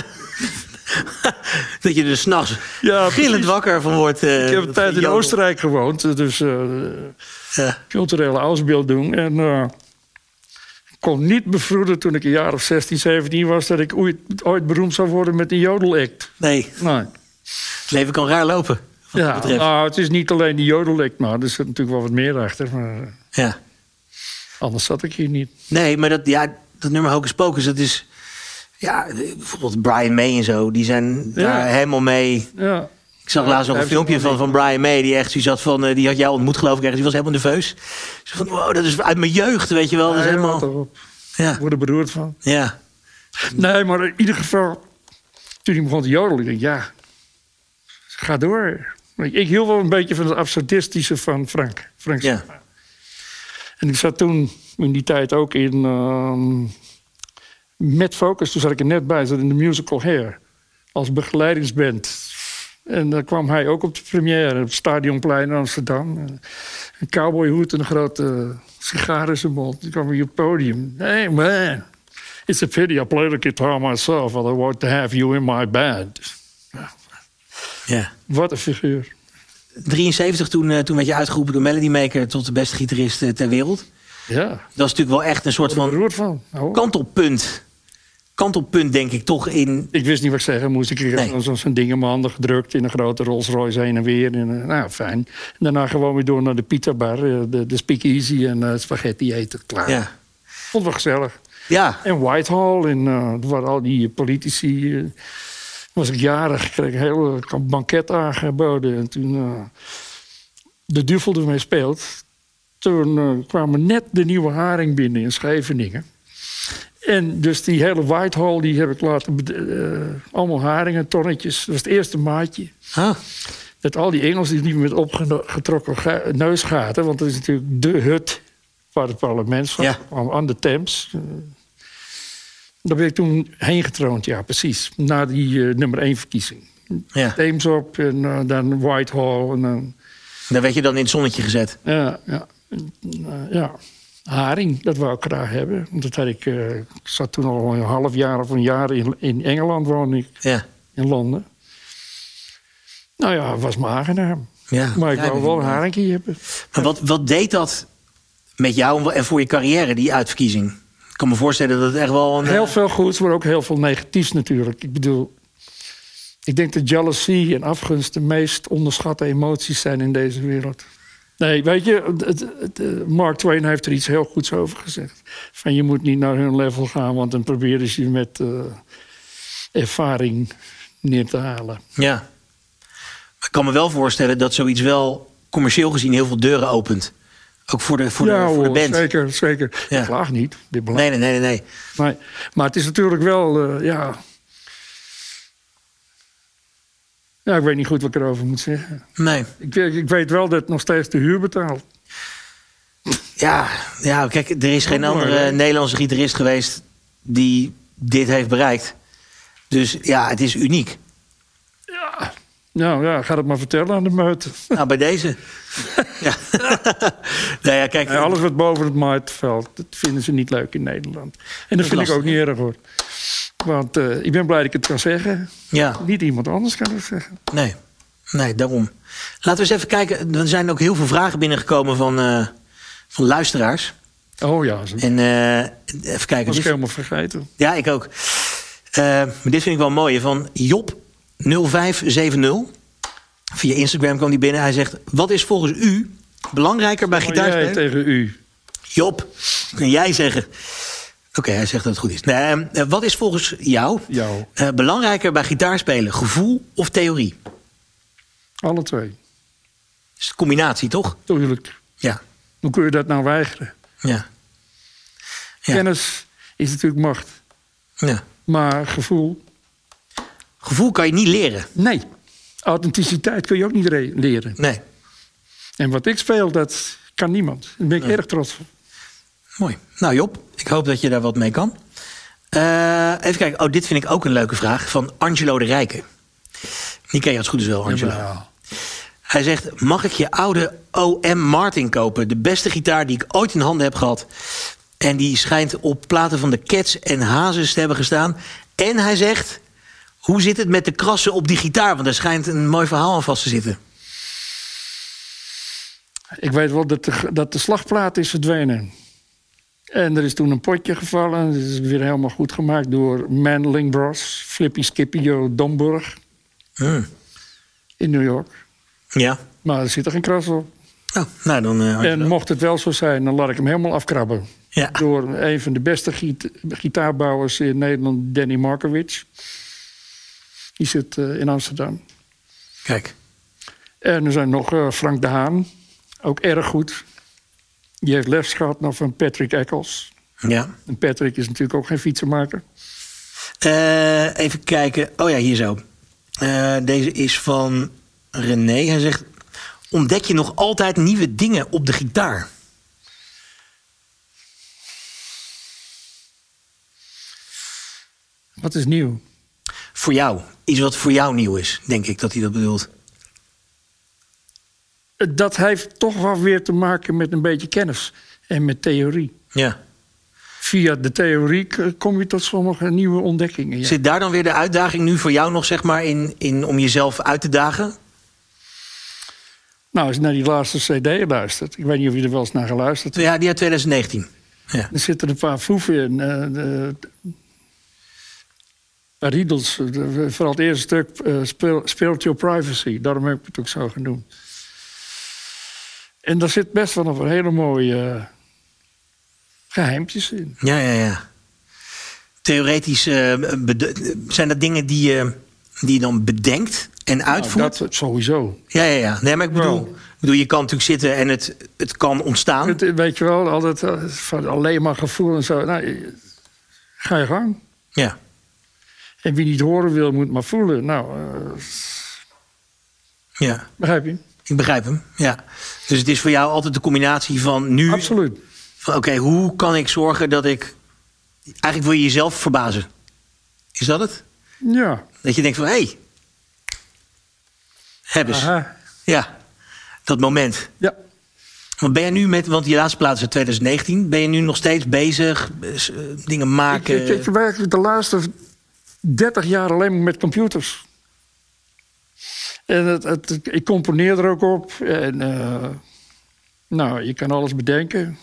Dat je er s'nachts Ja, gillend precies. wakker van wordt. eh, ik heb een tijd in jodel. Oostenrijk gewoond. Dus eh, Ja. culturele ausbeeld doen. En eh, ik kon niet bevroeden toen ik een jaar of 16, 17 was... dat ik ooit, ooit beroemd zou worden met een jodelact. Nee, Nee. het leven kan raar lopen. Wat Ja, dat betreft. nou, het is niet alleen die jodelact, maar er zit natuurlijk wel wat meer achter. Maar eh, Ja. anders zat ik hier niet. Nee, maar dat, ja, dat nummer Hocus Pocus, dat is... Ja, bijvoorbeeld Brian May en zo, die zijn Ja. daar helemaal mee... Ja, Ik zag laatst nog een Hij heeft filmpje van, van Brian May, die echt zoiets had van... eh, die had jou ontmoet, geloof ik, ergens. Die was helemaal nerveus. Ze van, wow, dat is uit mijn jeugd, weet je wel. Dat is Nee, helemaal... wat erop. Ja, Ik word er beroerd van. ja, Nee, maar in ieder geval, toen hij begon te jodelen, ik dacht, ja, ga door. Ik, ik hield wel een beetje van het absurdistische van Frank. Frank ja. En ik zat toen in die tijd ook in. ehm, met Focus, toen zat ik er net bij, zat in de musical Hair. Als begeleidingsband. En daar kwam hij ook op de première op het Stadionplein in Amsterdam. Eh, Een cowboyhoed en een grote sigaar in zijn mond. Die kwam hier op het podium. Hey man, it's a pity I play the guitar myself. I want to have you in my band. ja. Wat een figuur. 73, toen, eh, toen werd je uitgeroepen door Melody Maker... tot de beste gitarist eh, ter wereld. Ja, Dat is natuurlijk wel echt een soort van beroerd van. Oh. kantelpunt. Kantelpunt, denk ik, toch in... Ik wist niet wat ik zeggen moest. Ik kreeg Nee. zo'n- zo'n ding in mijn handen gedrukt in een grote Rolls Royce heen en weer. En, eh, nou, fijn. En daarna gewoon weer door naar de pizzabar, eh, de, de speakeasy en eh, spaghetti eten. Klaar. Ja, Vond wel gezellig. ja. En Whitehall en eh, waar al die politici... eh, was ik jarig, kreeg een heel banket aangeboden. En toen eh, de duvel ermee speelt... toen eh, kwamen net de nieuwe haring binnen in Scheveningen. En dus die hele Whitehall die heb ik laten... bed- eh, allemaal haringen, tonnetjes. Dat was het eerste maatje. Ah, Dat al die Engelsen die liepen met opgetrokken ga- neusgaten. Want dat is natuurlijk de hut waar het parlement van Ja. kwam, aan de Thames. Eh, Daar ben ik toen heen getroond, ja, precies. Na die eh, nummer één verkiezing. ja. Thames op en eh, dan Whitehall. En, dan Daar werd je dan in het zonnetje gezet. ja, ja, En, eh, ja. Haring, dat wou ik graag hebben. Want dat had ik, eh, ik zat toen al een half jaar of een jaar in, in Engeland, woonde ik Ja, in Londen. Nou ja, was me aangenaam. ja. Maar ik Ja, wou wel een haringje hebben. Maar wat, wat deed dat met jou en voor je carrière, die uitverkiezing? Ik kan me voorstellen dat het echt wel een... eh, Heel veel goeds, maar ook heel veel negatiefs natuurlijk. Ik bedoel, ik denk dat jealousy en afgunst de meest onderschatte emoties zijn in deze wereld. Nee, weet je, het- het- het, eh, Mark Twain heeft er iets heel goeds over gezegd. Van je moet niet naar hun level gaan, want dan proberen ze je met eh, ervaring neer te halen. Ja. Maar ik kan me wel voorstellen dat zoiets wel commercieel gezien heel veel deuren opent. Ook voor de, voor ja, de, voor de hoor, band. zeker, zeker. Ja. Ik klaag niet, dit belangrijk. Nee, nee, nee, nee, nee. Maar, maar het is natuurlijk wel, eh, ja... Ja, ik weet niet goed wat ik erover moet zeggen. Nee. Ik, weet- ik weet wel dat nog steeds de huur betaalt. Ja, ja, kijk, er is geen Ook mooi, andere hè? eh, Nederlandse gitarist geweest die dit heeft bereikt. Dus ja, het is uniek. Ja. Nou ja, ga dat maar vertellen aan de meut. Nou, bij deze. ja. nou ja, kijk. Nee, alles wat boven het marktveld, dat vinden ze niet leuk in Nederland. En dat vind lastig, ik ook niet erg hoor. Want eh, ik ben blij dat ik het kan zeggen. Ja, Niet iemand anders kan het zeggen. nee. Nee, daarom. Laten we eens even kijken. Er zijn ook heel veel vragen binnengekomen van, eh, van luisteraars. Oh ja, dat En eh, even kijken. was ik Dit, helemaal vergeten. ja, ik ook. Eh, maar dit vind ik wel mooi. Van Job 0570. Via Instagram kwam die binnen. Hij zegt: Wat is volgens u belangrijker bij Maar jij gitaarspelen? tegen u. Job, kun jij zeggen. Oké, hij zegt dat het goed is. Nee, eh, wat is volgens jou Jou. eh, belangrijker bij gitaarspelen? Gevoel of theorie? Dat Alle twee. is de combinatie, toch? Tuurlijk. Ja. Hoe kun je dat nou weigeren? ja. Ja. Kennis is natuurlijk macht. ja. Maar gevoel, Gevoel kan je niet leren. nee. Authenticiteit kun je ook niet re- leren. Nee. En wat ik speel, dat kan niemand. Daar ben ik erg trots op. Mooi. Nou Job, ik hoop dat je daar wat mee kan. Eh, even kijken. Oh, dit vind ik ook een leuke vraag. Van Angelo de Rijken. Die ken je als het goed is wel, Angelo. Ja. Hij zegt, mag ik je oude OM Martin kopen? De beste gitaar die ik ooit in handen heb gehad. En die schijnt op platen van de Cats en Hazes te hebben gestaan. En hij zegt, hoe zit het met de krassen op die gitaar? Want er schijnt een mooi verhaal aan vast te zitten. Ik weet wel dat de, dat de slagplaat is verdwenen. En er is toen een potje gevallen. en Dat is weer helemaal goed gemaakt door Mandeling Bros. Flippy Scipio Domburg Hmm. in New York. Ja. Maar er zit er geen kras op. Oh, nou, dan... eh, En mocht het wel zo zijn, dan laat ik hem helemaal afkrabben. ja. Door een van de beste giet- gitaarbouwers in Nederland, Danny Markovic. Die zit eh, in Amsterdam. Kijk. En er zijn nog eh, Frank de Haan, ook erg goed. Die heeft les gehad nog van Patrick Eccles. Ja. En Patrick is natuurlijk ook geen fietsenmaker. Eh, even kijken. Oh ja, hier zo. Eh, deze is van René. Hij zegt, ontdek je nog altijd nieuwe dingen op de gitaar? Wat is nieuw? Voor jou. Iets wat voor jou nieuw is, denk ik dat hij dat bedoelt. Eh, Dat heeft toch wel weer te maken met een beetje kennis en met theorie. Ja. Via de theorie k- kom je tot sommige nieuwe ontdekkingen. ja. Zit daar dan weer de uitdaging nu voor jou nog, zeg maar, in, in om jezelf uit te dagen? Nou, als je naar die laatste CD luistert, ik weet niet of je er wel eens naar geluisterd Ja, die uit 2019. Ja. Er zitten een paar foeven in. eh, de- een paar riedels. eh, de- Vooral het eerste stuk, eh, Spir- Spiritual Privacy. Daarom heb ik het ook zo genoemd. En daar zit best wel nog een hele mooie eh, geheimpjes in. Ja, ja, ja. Theoretisch eh, bede- eh, zijn dat dingen die je, die je dan bedenkt en Nou, uitvoert. Oh. dat sowieso. Ja, ja, ja. Nee, maar ik bedoel, Wel. ik bedoel je kan natuurlijk zitten en het, het kan ontstaan. Het, eh, weet je wel, altijd eh, van alleen maar gevoel en zo. Nou, eh, ga je gang. Ja. En wie niet horen wil, moet maar voelen. Nou, eh, ja, begrijp je? ik begrijp hem. Ja. Dus het is voor jou altijd de combinatie van nu. Absoluut. Van oké, hoe kan ik zorgen dat ik. Eigenlijk wil je jezelf verbazen. Is dat het? Ja. Dat je denkt van hé. Hey, heb eens. Aha. Ja, dat moment. Ja. Want ben je nu met, want die laatste plaats uit 2019, ben je nu nog steeds bezig, eh, s- eh, dingen Ik, ik, maken? ik heb eigenlijk de laatste 30 jaar alleen maar met computers. En het, het, ik componeer er ook op. En, eh, nou, je kan alles bedenken.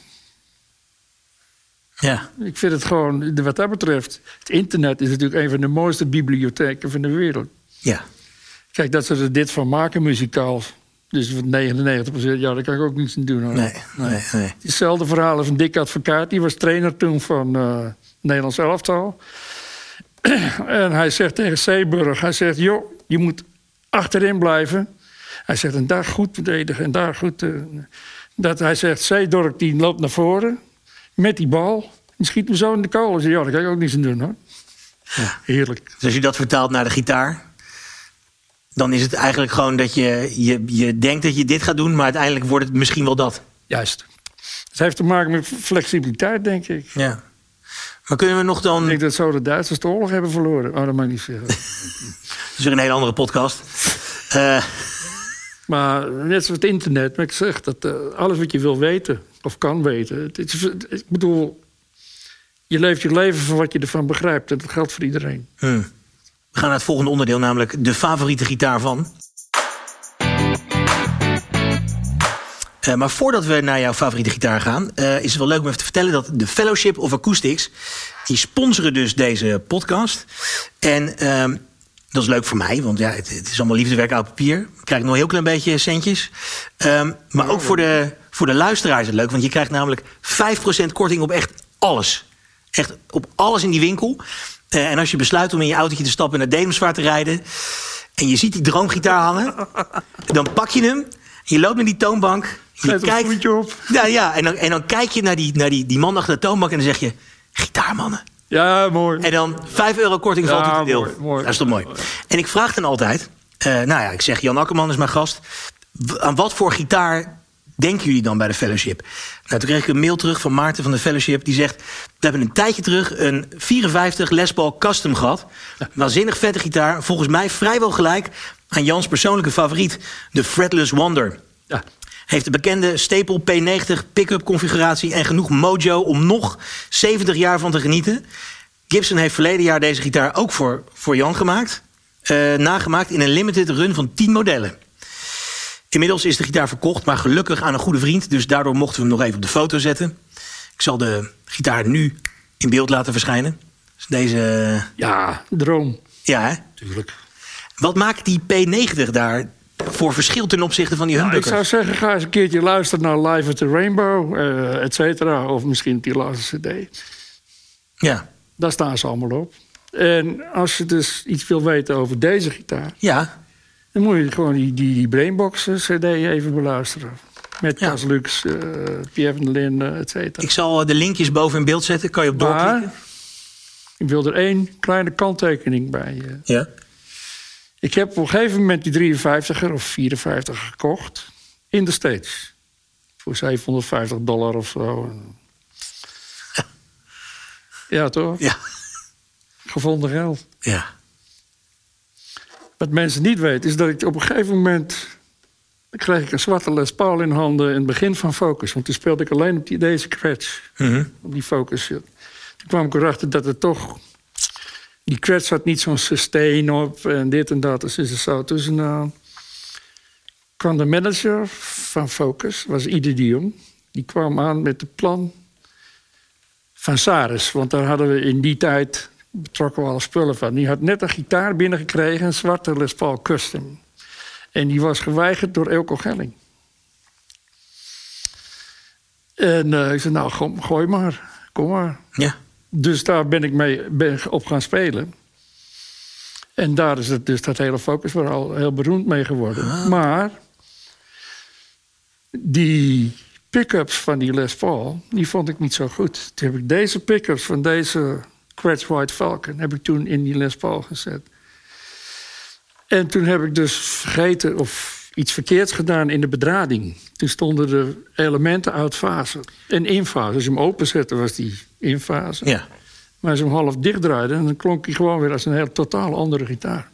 Ja, Ik vind het gewoon, wat dat betreft... het internet is natuurlijk een van de mooiste bibliotheken van de wereld. ja, Kijk, dat ze er dit van maken muzikaal... dus van 99%, ja, daar kan ik ook niets aan doen. Hoor. nee, nee, nee. Hetzelfde verhaal als een dik advocaat. Die was trainer toen van eh Nederlands elftal. en hij zegt tegen Zeeburg, hij zegt, joh, je moet achterin blijven. Hij zegt, en daar goed verdedigen en daar goed... eh, dat hij zegt, Zeedorp die loopt naar voren met die bal. En schiet hem zo in de kolen. Ik zeg, Ja, daar kan ik ook niets aan doen hoor. Heerlijk. Dus als je dat vertaalt naar de gitaar, dan is het eigenlijk gewoon dat je, je, je denkt dat je dit gaat doen, maar uiteindelijk wordt het misschien wel dat. Juist. Het heeft te maken met flexibiliteit, denk ik. Ja. Maar kunnen we nog dan... Ik denk dat zo de Duitsers de oorlog hebben verloren. Oh, dat mag ik niet zeggen. Dat is weer een hele andere podcast. Eh, Maar net zoals het internet, maar ik zeg dat eh, alles wat je wil weten of kan weten. Het is, ik bedoel, je leeft je leven van wat je ervan begrijpt. En dat geldt voor iedereen. hmm. We gaan naar het volgende onderdeel, namelijk de favoriete gitaar van. Eh, maar voordat we naar jouw favoriete gitaar gaan, eh, is het wel leuk om even te vertellen dat de Fellowship of Acoustics, die sponsoren dus deze podcast. En ehm, dat is leuk voor mij, want ja, het, het is allemaal liefdewerk uit papier. Ik krijg nog een heel klein beetje centjes. Ehm, maar ook voor de, voor de luisteraar is het leuk, want je krijgt namelijk 5% korting op echt alles. Echt op alles in die winkel. Eh, en als je besluit om in je autootje te stappen en naar Dedemsvaart te rijden, en je ziet die droomgitaar hangen, dan pak je hem, je loopt naar die toonbank, je Zet een kijkt, voetje op. ja, ja. En, dan, en dan kijk je naar, die, naar die, die man achter de toonbank en dan zeg je... Gitaarmannen. Ja, mooi. En dan 5 euro korting valt Ja, ja, te deel. mooi, mooi. Dat is toch mooi. En ik vraag dan altijd... eh, nou ja, ik zeg Jan Akkerman is mijn gast. w- Aan wat voor gitaar denken jullie dan bij de fellowship? Nou, toen kreeg ik een mail terug van Maarten van de fellowship. Die zegt, we hebben een tijdje terug een 54 Les Paul Custom gehad. Waanzinnig vette gitaar. Volgens mij vrijwel gelijk aan Jans persoonlijke favoriet. De Fretless Wonder. Ja. Heeft de bekende Staple P90 pick-up configuratie en genoeg mojo om nog 70 jaar van te genieten. Gibson heeft verleden jaar deze gitaar ook voor, voor Jan gemaakt. eh, nagemaakt in een limited run van 10 modellen. Inmiddels is de gitaar verkocht, maar gelukkig aan een goede vriend. Dus daardoor mochten we hem nog even op de foto zetten. Ik zal de gitaar nu in beeld laten verschijnen. Dus deze. ja, droom. Ja, hè? Tuurlijk. Wat maakt die P90 daar voor verschil ten opzichte van die ik humbucker? zou zeggen, ga eens een keertje luisteren naar Live at the Rainbow, eh et cetera. Of misschien die laatste cd. Ja, Daar staan ze allemaal op. En als je dus iets wil weten over deze gitaar... ja. Dan moet je gewoon die, die, die Brainbox eh, CD even beluisteren. Met Ja. Cas Lux, eh, Pierre van der Linden, et cetera. Ik zal eh, de linkjes boven in beeld zetten. Kan je op doorklikken? Maar ik wil er één kleine kanttekening bij. eh. Ja. Ik heb op een gegeven moment die 53er of 54 gekocht. In de States. Voor 750 dollar of zo. Ja, toch? Ja. Gevonden geld. Ja. Wat mensen niet weten, is dat ik op een gegeven moment... dan kreeg ik een zwarte Les Paul in handen in het begin van Focus. Want toen speelde ik alleen op die, deze scratch. Mhm. Op die Focus. ja. Toen kwam ik erachter dat het toch... Die scratch had niet zo'n sustain op en dit en dat. Dus is het zo. Dus nou, kwam de manager van Focus, was Ide de Jong. Die kwam aan met het plan van Saris. Want daar hadden we in die tijd betrokken we alle spullen van. Die had net een gitaar binnengekregen, een zwarte Les Paul Custom. En die was geweigerd door Elko Gelling. En eh, ik zei, nou, go- gooi maar, kom maar. Ja. Dus daar ben ik mee ben op gaan spelen. En daar is het, dus dat hele focus weer al heel beroemd mee geworden. Maar die pick-ups van die Les Paul, die vond ik niet zo goed. Toen heb ik deze pick-ups van deze Quetch White Falcon... heb ik toen in die Les Paul gezet. En toen heb ik dus vergeten of iets verkeerds gedaan in de bedrading. Toen stonden de elementen uit fase en in fase. Als je hem openzette was die in fase. Ja. Maar als je hem half dicht draaide, dan klonk hij gewoon weer als een heel totaal andere gitaar.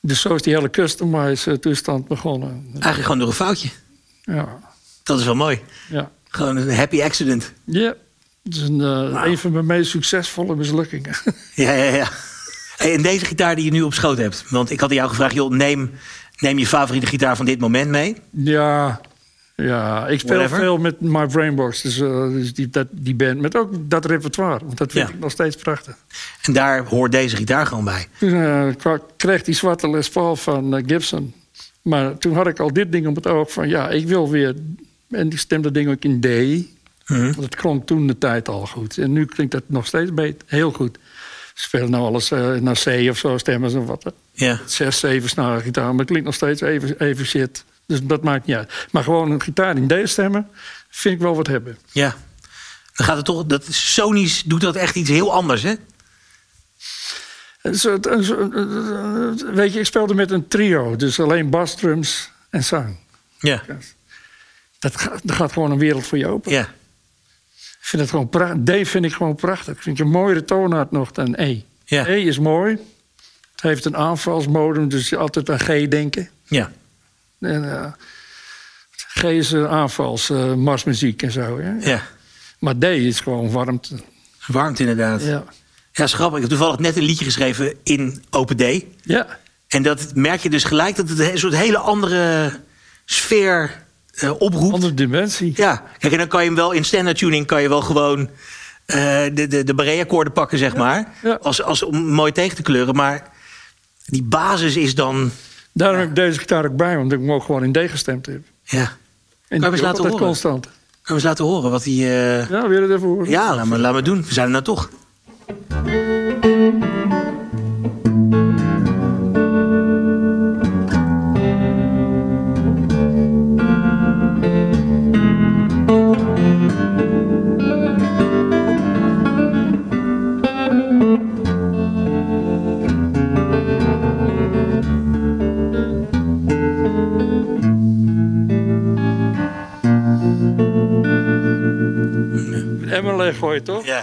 Dus zo is die hele customized eh, toestand begonnen. Eigenlijk gewoon door een foutje. Ja, Dat is wel mooi. ja. Gewoon een happy accident. Ja, het is een, eh, Nou. een van mijn meest succesvolle mislukkingen. Ja, ja, ja. Hey, en deze gitaar die je nu op schoot hebt. Want ik had aan jou gevraagd, joh, neem, neem je favoriete gitaar van dit moment mee. ja, ja, ik speel Whatever. veel met My Brainbox, dus, eh, dus die, dat, die band. Met ook dat repertoire, want dat vind Ja. ik nog steeds prachtig. En daar hoort deze gitaar gewoon bij. Toen eh, kwa- kreeg die zwarte Les Paul van eh, Gibson. Maar toen had ik al dit ding op het oog van ja, ik wil weer. En ik stemde ding ook in D. Want het klonk toen de tijd al goed. En nu klinkt dat nog steeds beter. Heel goed. Ze spelen nou alles eh, naar C of zo, stemmen ze wat. hè. Ja. Zes, zeven snaren gitaar, maar het klinkt nog steeds even, even shit. Dus dat maakt niet uit. Maar gewoon een gitaar in D stemmen, vind ik wel wat hebben. Ja. Dan gaat het toch... Dat, Sony's doet dat echt iets heel anders, hè? Een soort- een soort- eh, Weet je, ik speelde met een trio. Dus alleen basdrums en zang. Ja. Dat gaat, dat gaat gewoon een wereld voor je open. Ja. vind het gewoon prachtig. D vind ik gewoon prachtig. Ik vind je een mooiere toonaard nog dan E. Ja. E is mooi. Het heeft een aanvalsmodem, dus je altijd aan G denken. Ja. En, eh, G is een aanvals, eh, marsmuziek en zo. Ja? ja. Maar D is gewoon warmte. Warmt inderdaad. Ja, Ja. dat is grappig. Ik heb toevallig net een liedje geschreven in Open D. ja. En dat merk je dus gelijk dat het een soort hele andere sfeer eh, oproept. Andere dimensie. Ja, kijk, en dan kan je hem wel in standard tuning kan je wel gewoon eh, de, de, de Brea-akkoorden pakken, zeg maar. ja. Als, als om mooi tegen te kleuren. Maar die basis is dan. Daarom heb ik deze gitaar ook bij, want ik mocht gewoon in D gestemd hebben. Ja. Kunnen En Kan je dat hem eens is laten altijd horen? constant. we eens laten horen wat die. eh, Ja, wil je het even horen? Ja, laat maar, laat maar doen. We zijn er nou toch. Emmer leeg gooien, toch? Ja.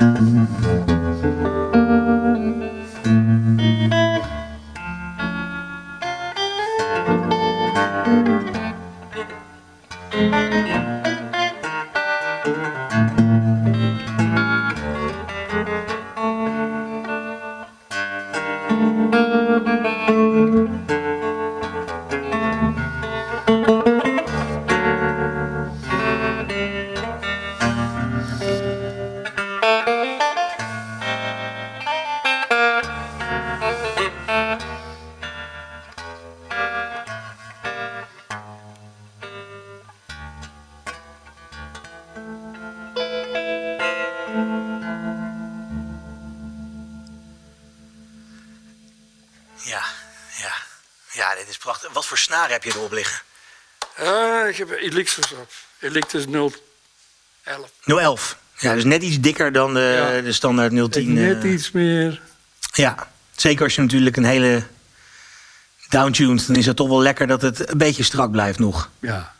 Ja, ja. Ja, dit is prachtig. Wat voor snaren heb je erop liggen? Ah, ik heb elixirs op. Elixir 011. 011. Ja, dus net iets dikker dan de, Ja. de standaard 010. Net eh, iets meer. Ja, zeker als je natuurlijk een hele downtuned, dan is het toch wel lekker dat het een beetje strak blijft nog. Ja.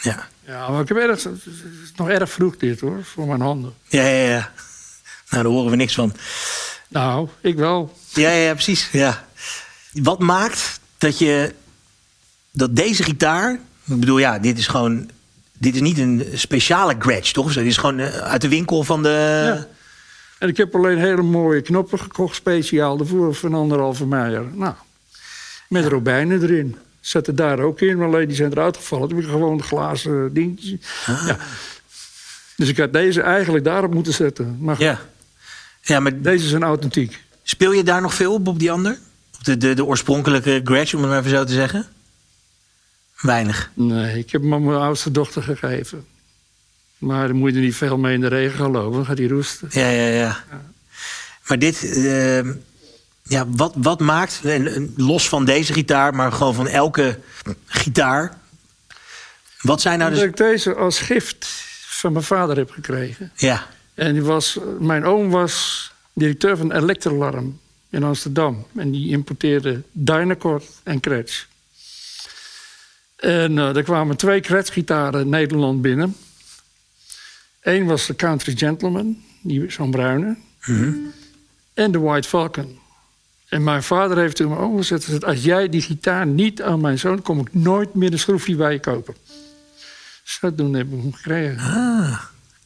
Ja, Ja, maar ik heb erg, het is nog erg vroeg dit hoor, voor mijn handen. ja, ja. ja. Nou, daar horen we niks van. Nou, ik wel. Ja, ja, ja, precies. Ja. Wat maakt dat je dat deze gitaar, ik bedoel, ja, dit is gewoon, dit is niet een speciale Gretsch, toch? Of zo, Dit is gewoon eh, uit de winkel van de. Ja. En ik heb alleen hele mooie knoppen gekocht, speciaal daarvoor, van anderhalve meijer. Nou, met robijnen erin. Zet er daar ook in, maar alleen die zijn eruit gevallen. Toen heb ik gewoon de glazen dingetjes. Ja. Dus ik had deze eigenlijk daarop moeten zetten. Maar goed, ja. Ja, maar deze zijn authentiek. speel je daar nog veel op, op die ander? Op de, de, de oorspronkelijke Gretsch, om het maar even zo te zeggen? Weinig. Nee, ik heb hem aan mijn oudste dochter gegeven. Maar dan moet je er niet veel mee in de regen gaan lopen, dan gaat hij roesten. Ja, ja, ja. Maar dit, eh, ja, wat, wat maakt, en- en los van deze gitaar, maar gewoon van elke gitaar. Wat zijn nou Dat de. ik deze als gift van mijn vader heb gekregen. Ja, En die was, mijn oom was directeur van Electralarm in Amsterdam. En die importeerde Dynacord en Kretsch. En eh, er kwamen twee Kretsch-gitaren Nederland binnen. Eén was de Country Gentleman, die, zo'n bruine. En de White Falcon. En mijn vader heeft toen mijn oom gezet... gezegd, als jij die gitaar niet aan mijn zoon... kom ik nooit meer een schroefje bij je kopen. Dus Zodoende heb ik hem gekregen.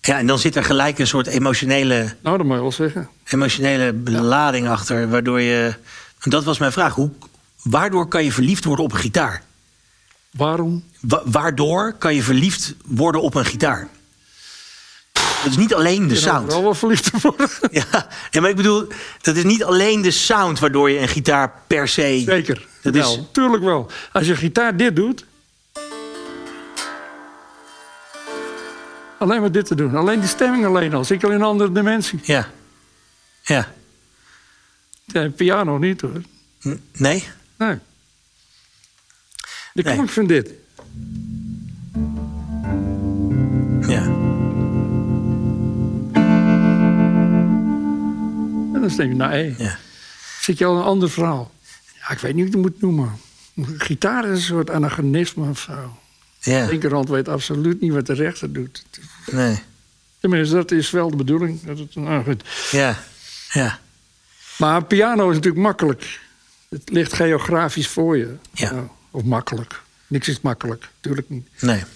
ja, en dan zit er gelijk een soort emotionele, Nou, dat moet je wel zeggen. emotionele belading achter, waardoor je. en Dat was mijn vraag. Hoe, waardoor kan je verliefd worden op een gitaar? Waarom? Wa- waardoor kan je verliefd worden op een gitaar? Dat is niet alleen de Ik ben sound. overal wel verliefd te worden. Ja, nee, maar ik bedoel, dat is niet alleen de sound waardoor je een gitaar per se. Zeker. Dat Dat is- is... Tuurlijk wel. Als je gitaar dit doet... Alleen maar dit te doen. Alleen die stemming alleen al. Zit ik al in een andere dimensie. Ja. Ja. Ja, piano niet hoor. N- nee? Nee. De Nee. klank van dit. Ja. En dan stem je naar E. Ja. Zit je al in een ander verhaal. Ja, ik weet niet hoe ik het moet noemen. Gitaar is een soort anachronisme of zo. Ja. De linkerhand weet absoluut niet wat de rechter doet. Nee. Tenminste, dat is wel de bedoeling. Dat het, nou goed. Ja. Ja. Maar piano is natuurlijk makkelijk. Het ligt geografisch voor je. Ja. Nou, of makkelijk. Niks is makkelijk, natuurlijk niet. Nee. Het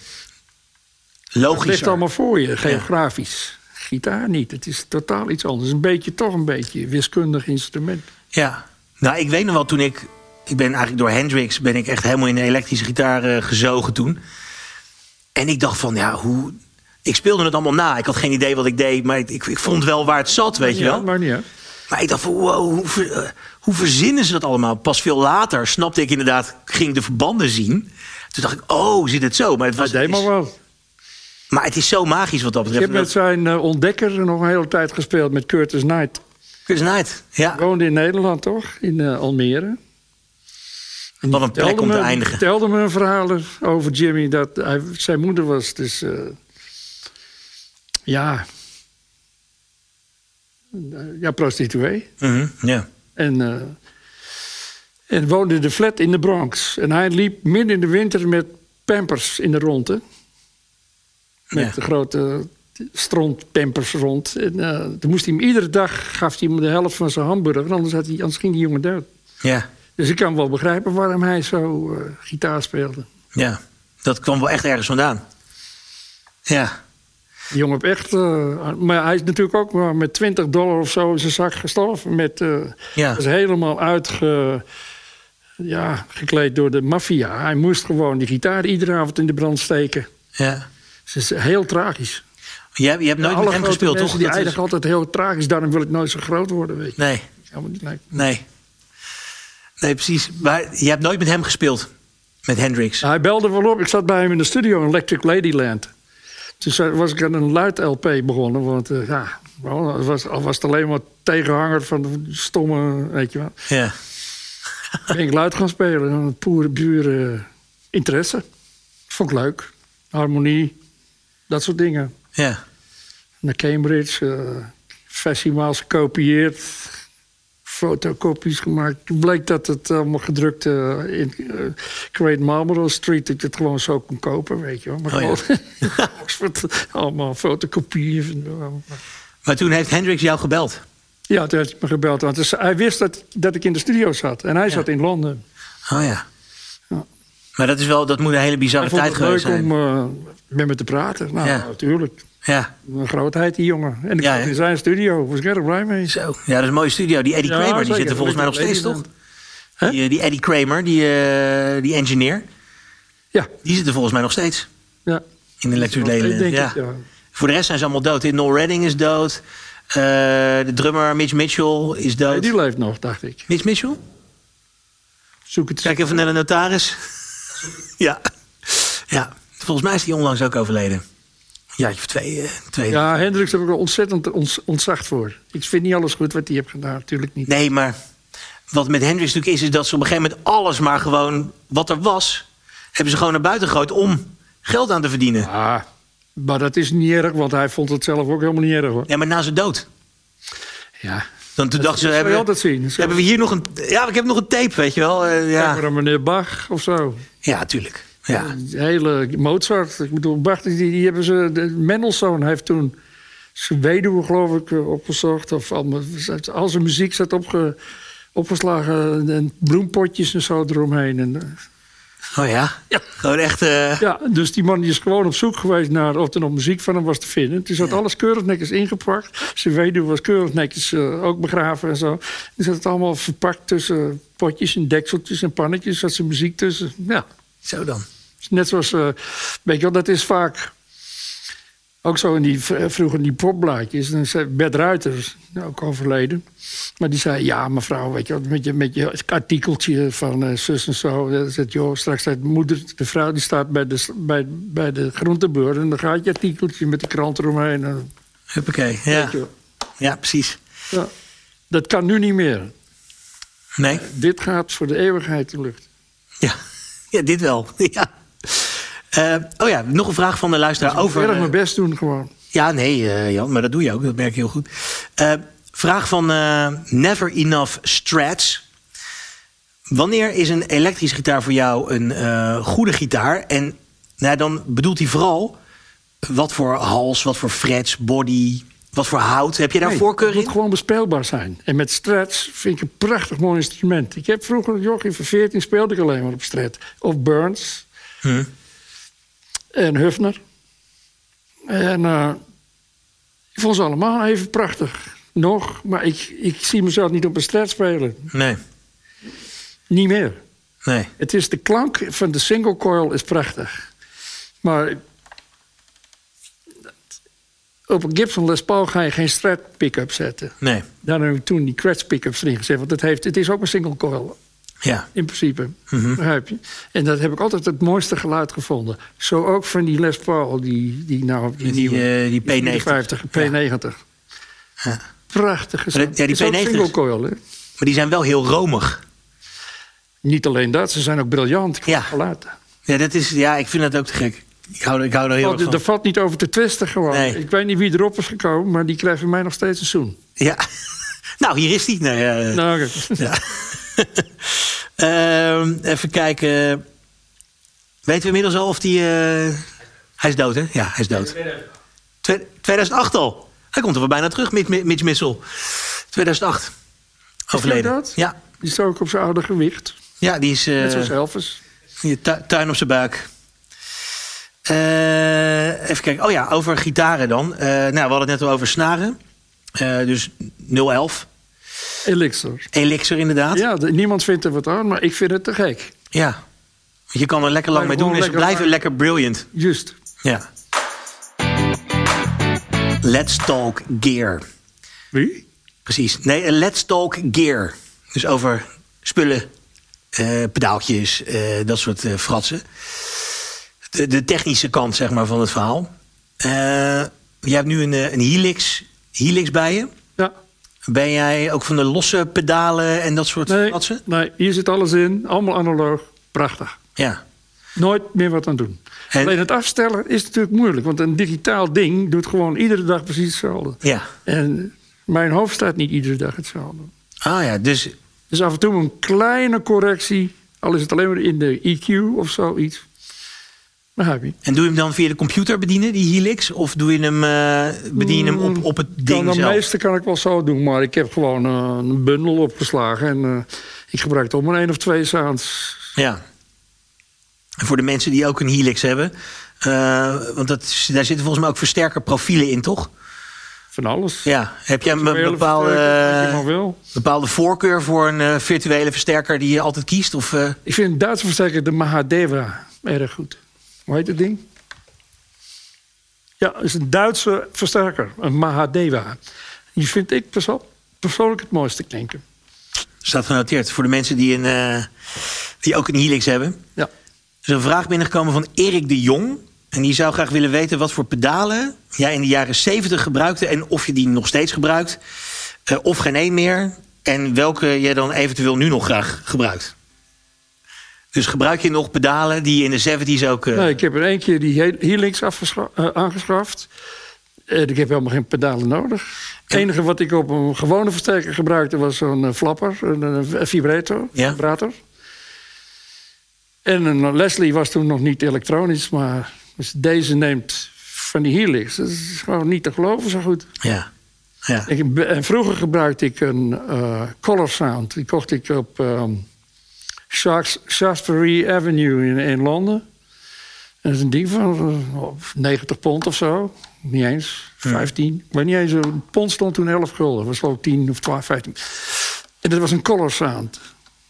ligt Logischer. allemaal voor je, geografisch. Gitaar niet, het is totaal iets anders. Een beetje, toch een beetje, wiskundig instrument. Ja. Nou, ik weet nog wel toen ik... Ik ben eigenlijk door Hendrix ben ik echt helemaal in de elektrische gitaar eh, gezogen toen. En ik dacht van, ja, hoe... Ik speelde het allemaal na. Ik had geen idee wat ik deed, maar ik, ik, ik vond wel waar het zat, weet je Ja, wel. Maar niet, hè? Maar ik dacht van, wow, hoe, ver- eh, hoe verzinnen ze dat allemaal? Pas veel later snapte ik inderdaad, ging ik de verbanden zien. Toen dacht ik, oh, zit het zo? Maar het, was, Deed maar is, wat. maar het is zo magisch wat dat Ik betreft. heb met zijn eh, ontdekker nog een hele tijd gespeeld met Curtis Knight. Chris Knight, ja. Woonde in Nederland, toch? In eh, Almere. Wat een plek Vertelde om te me- eindigen. vertelde me een verhaal over Jimmy dat hij, zijn moeder was. Dus eh, ja. Ja, prostituee. Mhm, ja. En, eh, en woonde in de flat in de Bronx. En hij liep midden in de winter met pampers in de ronde. Met Ja. de grote strontpampers rond. En eh, toen moest hij hem iedere dag, gaf hij hem de helft van zijn hamburger. Anders, had hij, anders ging die jongen dood. ja, Dus ik kan wel begrijpen waarom hij zo eh, gitaar speelde. ja. Dat kwam wel echt ergens vandaan. Ja, Die jongen heeft echt... eh, maar hij is natuurlijk ook maar met 20 dollar of zo in zijn zak gestorven. Met, eh, ja. Dat is helemaal uitge, ja, gekleed door de maffia. Hij moest gewoon die gitaar iedere avond in de brand steken. ja. Dus het is heel tragisch. Je, hebt- je hebt nooit Alle met hem grote gespeeld, mensen Die toch? Dat is- eindigen altijd heel tragisch. Daarom wil ik nooit zo groot worden, weet je. Nee, Ja, maar niet leuk. nee. Nee, precies. Maar je hebt nooit met hem gespeeld. Met Hendrix. Hij belde wel op. Ik zat bij hem in de studio in Electric Ladyland. Toen zei- was ik aan een luid LP begonnen. Want eh, ja, wel, het was, al was het alleen maar tegenhanger van de stomme, weet je wel. Ja. ben ik luid gaan spelen. En Poere buren interesse. Vond ik leuk. Harmonie, dat soort dingen. Ja. Naar Cambridge, eh festivals gekopieerd, fotocopies gemaakt. Toen bleek dat het allemaal gedrukt eh, in eh, Great Marlborough Street, dat je het gewoon zo kon kopen, weet je wel. Maar Oh ja. gewoon Oxford, allemaal fotocopieën. van- Maar toen heeft Hendrix jou gebeld. Ja, toen heeft hij me gebeld, want dus hij wist dat, dat ik in de studio zat. En hij zat in Londen. Oh ja. Ja. Maar dat, is wel, dat moet een hele bizarre Hij vond tijd het geweest leuk zijn. om eh, met me te praten. Nou, Ja. natuurlijk. Ja, Een grootheid, die jongen. En ik Ja, zat hè? in zijn studio. Was ik erg blij mee. zo. Ja, dat is een mooie studio. Die Eddie Ja, Kramer, die zeker. zit er volgens mij nog Dat weet steeds, ik toch? Hè? Die, eh, die Eddie Kramer, die, eh, die engineer, Ja, die zit er volgens mij nog steeds. ja. In Electric Ladyland, Denk ja. ik, ja. Voor de rest zijn ze allemaal dood. hè? Noel Redding is dood. Eh, de drummer Mitch Mitchell Nee, is dood. die leeft nog, dacht ik. Mitch Mitchell? Zoek het Kijk even naar de notaris. ja. ja. Volgens mij is die onlangs ook overleden. Ja, of twee. eh, twee. Ja, Hendricks heb ik wel ontzettend ons- ontzag voor. Ik vind niet alles goed wat hij heeft gedaan, natuurlijk niet. Nee, maar wat met Hendrix natuurlijk is, is dat ze op een gegeven moment alles maar gewoon wat er was, hebben ze gewoon naar buiten gegooid om geld aan te verdienen. Ah, maar dat is niet erg, want hij vond het zelf ook helemaal niet erg hoor. Ja, maar na zijn dood. Ja, Dan toen dachten ze, dat hebben, wil je altijd zien. Dat is hebben we hier nog een... Ja, ik heb nog een tape, weet je wel. eh, Kijk maar ja. naar meneer Bach of zo. ja, tuurlijk. Ja. De hele Mozart. Ik bedoel, Bach, die, die hebben ze. De Mendelssohn heeft toen zijn weduwe, geloof ik, eh, opgezocht. Of allemaal, al zijn muziek zat opge, opgeslagen. En bloempotjes en zo eromheen. En, eh, Oh ja? Ja. Gewoon echt... eh, ja, dus die man die is gewoon op zoek geweest naar of er nog muziek van hem was te vinden. Toen zat alles keurig netjes ingepakt. Zijn weduwe was keurig netjes eh, ook begraven en zo. Die zat het allemaal verpakt tussen potjes en dekseltjes en pannetjes. Zat zijn muziek tussen. Ja. Zo dan. Net zoals, eh, weet je wel, dat is vaak ook zo in die, v- eh, vroeger in die popblaadjes. Dan zei Bert Ruiter, ook overleden. Maar die zei, ja mevrouw, weet je wel, met je, met je artikeltje van eh, zus en zo. Dat zegt, joh, straks staat moeder, de vrouw die staat bij de, s- bij, bij de groenteboer. En dan gaat je artikeltje met de krant eromheen. En, Huppakee. Ja. weet je wel. ja, precies. Ja. Dat kan nu niet meer. Nee? Dit gaat voor de eeuwigheid de lucht. Ja. Ja, dit wel. Ja. Eh, oh ja, nog een vraag van de luisteraar over... eh, Verder mijn best doen gewoon. Ja, nee, eh, Jan, maar dat doe je ook. Dat merk je heel goed. Eh, vraag van eh, Never Enough Strats. Wanneer is een elektrische gitaar voor jou een eh, goede gitaar? En nou, ja, dan bedoelt hij vooral Wat voor hals, wat voor frets, body, wat voor hout? Heb je daar Nee, voorkeur Het in? moet gewoon bespeelbaar zijn. En met strats vind ik een prachtig mooi instrument. Ik heb vroeger, een jochie van 14, speelde ik alleen maar op strat. Of Burns. En Hufner. En eh, ik vond ze allemaal even prachtig. Nog, maar ik, ik zie mezelf niet op een strat spelen. Nee, Niet meer. nee. Het is de klank van de single coil is prachtig. Maar op een Gibson Les Paul ga je geen strat pick-up zetten. Nee, Daar heb ik toen die crash pickups erin gezet. Want het, heeft, het is ook een single coil, ja. in principe. Mhm. Begrijp je? En dat heb ik altijd het mooiste geluid gevonden. Zo ook van die Les Paul, die, die nou die, Die, nieuwe. eh, die P90. 54, P90. Ja. Prachtige Maar dat- ja, die Is ook P90's. single coil, hè? Maar die zijn wel heel romig. Niet alleen dat, ze zijn ook briljant. qua Ja. Geluid. Ja, dat is, ja ik vind dat ook te gek. Ik hou, ik hou er heel Oh, erg d- van. daar valt niet over te twisten gewoon. Nee. Ik weet niet wie erop is gekomen, maar die krijgt van mij nog steeds een zoen. Ja. nou, hier is die. Nee, eh, Nou, ja. Ehm, even kijken. Weten we inmiddels al of die... eh, Hij is dood, hè? Ja, hij is dood. Twe- 2008 al. Hij komt er wel bijna terug, Mitch- Mitch Missel. 2008. Overleden. dat? Ja. die is ook op zijn oude gewicht. ja, die is... eh, Net zoals Elvis. Je tu- tuin op zijn buik. Eh, even kijken. Oh ja, over gitaren dan. Eh, nou, we hadden het net al over snaren. Eh, dus 011. Elixir. Elixir inderdaad. Ja. Ja, de- niemand vindt er wat aan, maar ik vind het te gek. Want Je kan er lekker lang mee Blijven doen. En ze gewoon blijven lekker lekker brilliant. Juist. Ja. Let's talk gear. Wie? Precies. Nee, eh, let's talk gear. Dus over spullen, eh, pedaaltjes, eh, dat soort eh, fratsen. De, de technische kant, zeg maar, van het verhaal. Eh, je hebt nu een, eh, een Helix, Helix bij je. Ja. Ben jij ook van de losse pedalen en dat soort Nee, fratsen? nee, hier zit alles in. Allemaal analoog. Prachtig. Ja. Nooit meer wat aan doen. En- Alleen het afstellen is natuurlijk moeilijk. Want een digitaal ding doet gewoon iedere dag precies hetzelfde. Ja. En mijn hoofd staat niet iedere dag hetzelfde. Ah ja, dus Dus af en toe een kleine correctie. Al is het alleen maar in de EQ of zoiets. Dan heb je. en doe je hem dan via de computer bedienen, die Helix? Of doe je hem, eh, bedien je hem op, op het Mm, Kan ding de zelf? nou, meeste kan ik wel zo doen, maar ik heb gewoon eh, een bundel opgeslagen. En eh, ik gebruik toch maar één of twee sounds. Ja. En voor de mensen die ook een Helix hebben. eh, want dat, is- daar zitten volgens mij ook versterkerprofielen in, toch? Van alles. Ja. Heb jij een Virtuele bepaalde, versterker, wat je eh, maar wil. bepaalde voorkeur voor een eh, virtuele versterker die je altijd kiest? Of, eh, Ik vind een Duitse versterker de Mahadeva erg goed. Hoe heet het ding? Ja, het is een Duitse versterker, een Mahadeva. Die vind ik perso- persoonlijk het mooiste klinken. staat genoteerd. Voor de mensen die, een, eh, die ook een Helix hebben. Ja. Er is een vraag binnengekomen van Erik de Jong. En die zou graag willen weten wat voor pedalen jij in de jaren 70 gebruikte. En of je die nog steeds gebruikt. eh, of geen één meer. En welke jij dan eventueel nu nog graag gebruikt. Dus gebruik je nog pedalen die je in de 70s ook. eh, Nee, Nou, ik heb er één keer die heel- Helix afgescha- eh, aangeschaft. En ik heb helemaal geen pedalen nodig. Het enige wat ik op een gewone versterker gebruikte was zo'n eh, flapper, een, een vibrator. Ja. vibrator. En een Leslie was toen nog niet elektronisch, maar dus deze neemt van die Helix. Dat is gewoon niet te geloven zo goed. Ja. ja. Ik, heb- en vroeger gebruikte ik een eh, Color Sound. Die kocht ik op ehm, Shafts- Shaftesbury Avenue in, in Londen. Dat is een ding van eh, op 90 pond of zo. Niet eens, 15. Ik weet niet eens, een pond stond toen 11 gulden. Dat was geloof ik 10 of 12, 15. En dat was een Color Sound.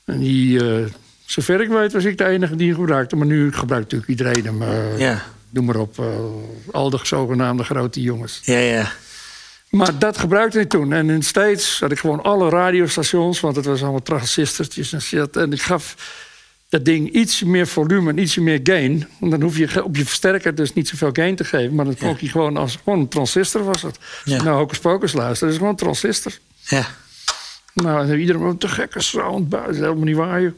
En die, eh, zover ik weet, was ik de enige die hem gebruikte. Maar nu gebruikt natuurlijk iedereen hem. eh, Ja. Noem maar op, eh, al de zogenaamde grote jongens. Ja, ja. Maar dat gebruikte ik toen. En in steeds had ik gewoon alle radiostations, want het was allemaal transistortjes en shit. En ik gaf dat ding iets meer volume en iets meer gain. Want dan hoef je ge- op je versterker dus niet zoveel gain te geven. Maar dan klonk je gewoon als gewoon een transistor was het. Als je Ja. Nou, Hocus Pocus luisteren, dat is gewoon een transistor. ja. Nou, en iedereen "Wat een te gekke sound. buis." Dat is helemaal niet waar, joh.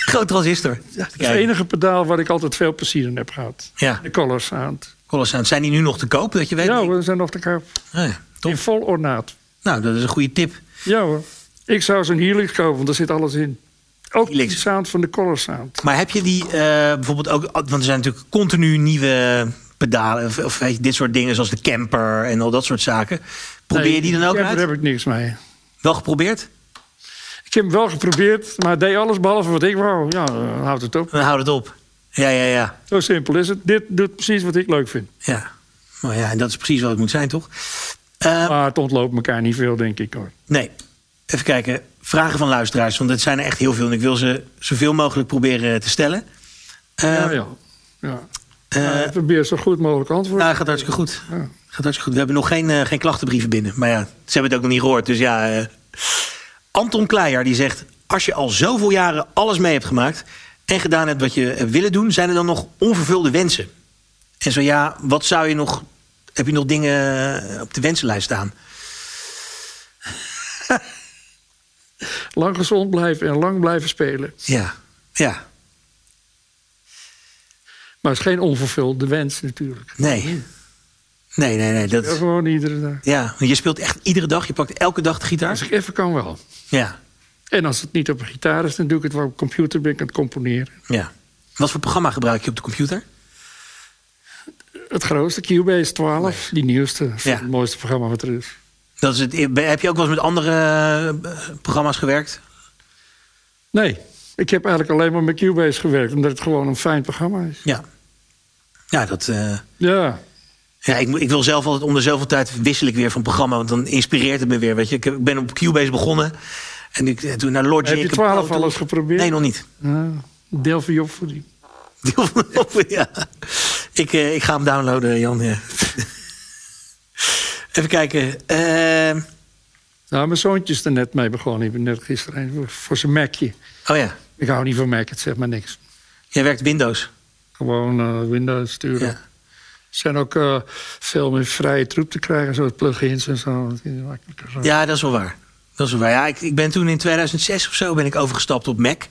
Groot transistor. Dat is het enige pedaal waar ik altijd veel plezier in heb gehad. Ja. De color sound. Colossaal. Zijn die nu nog te koop? Dat je weet. Ja, we zijn nog te koop. Ah, ja. In Tof. vol ornaat. Nou, dat is een goede tip. Ja hoor. Ik zou zo'n Helix kopen, want daar zit alles in. Ook Helix. die sound van de Color Sound. Maar heb je die eh, bijvoorbeeld ook, want er zijn natuurlijk continu nieuwe pedalen of, of weet je, dit soort dingen zoals de camper en al dat soort zaken. Probeer je die dan ook Daar uit? heb ik niks mee. Wel geprobeerd? Ik heb hem wel geprobeerd, maar hij deed alles behalve wat ik wou. Ja, dan houdt het op. Dan houd het op. Ja, ja, ja. Zo simpel is het. Dit doet precies wat ik leuk vind. ja. Maar ja, en dat is precies wat het moet zijn, toch? Eh, Maar het ontloopt elkaar niet veel, denk ik hoor. Nee. Even kijken. Vragen van luisteraars, want het zijn er echt heel veel. En ik wil ze zoveel mogelijk proberen te stellen. Eh, ja, Nou, ja. ja. eh, Maar ik probeer zo goed mogelijk antwoord. nou, gaat hartstikke goed. Gaat hartstikke goed. We hebben nog geen, eh, geen klachtenbrieven binnen. Maar ja, ze hebben het ook nog niet gehoord. Dus ja. eh. Anton Kleijer die zegt: Als je al zoveel jaren alles mee hebt gemaakt. en gedaan hebt wat je hebt willen doen. zijn er dan nog onvervulde wensen? En zo ja, wat zou je nog. Heb je nog dingen eh, op de wensenlijst staan? Lang gezond blijven en lang blijven spelen. Ja. Ja. Maar het is geen onvervulde wens natuurlijk. Nee. Nee, nee, nee. Dat Ja, gewoon iedere dag. Ja, want je speelt echt iedere dag. Je pakt elke dag de Als gitaar. ik even kan wel. Ja, En als het niet op een gitaar is, dan doe ik het wel op een computer. Ben ik aan het componeren. ja. Wat voor programma gebruik je op de computer? Het grootste, Cubase 12. Die nieuwste. Dat is Ja. Het mooiste programma wat er is. Dat is het, eh, heb je ook wel eens met andere eh, programma's gewerkt? Nee, ik heb eigenlijk alleen maar met Cubase gewerkt. Omdat het gewoon een fijn programma is. Ja. Ja, dat, eh, Ja, ja ik, moet- ik wil zelf altijd om de zoveel tijd wissel ik weer van programma. Want dan inspireert het me weer. Weet je. Ik, heb- ik ben op Cubase begonnen. En ik, eh, toen naar Logic. Heb je en 12 Pro Tools. al eens geprobeerd? Nee, nog niet. ja. deel van je opvoeding. Deel van de hoofd, ja. Ik, eh, ik ga hem downloaden, Jan. ja. Even kijken. Eh, Nou, mijn zoontje is er net mee begonnen. Ik ben net gisteren heen voor- voor zijn Macje. oh ja, Ik hou niet van Mac, het zegt maar niks. jij werkt Windows. Gewoon eh, Windows sturen. Ja. Er zijn ook eh, veel meer vrije troep te krijgen, zoals plugins en zo. Dat is makkelijker zo. Hm. Ja, dat is wel waar. Dat is wel waar. Ja, ik, ik ben toen in 2006 of zo ben ik overgestapt op Mac.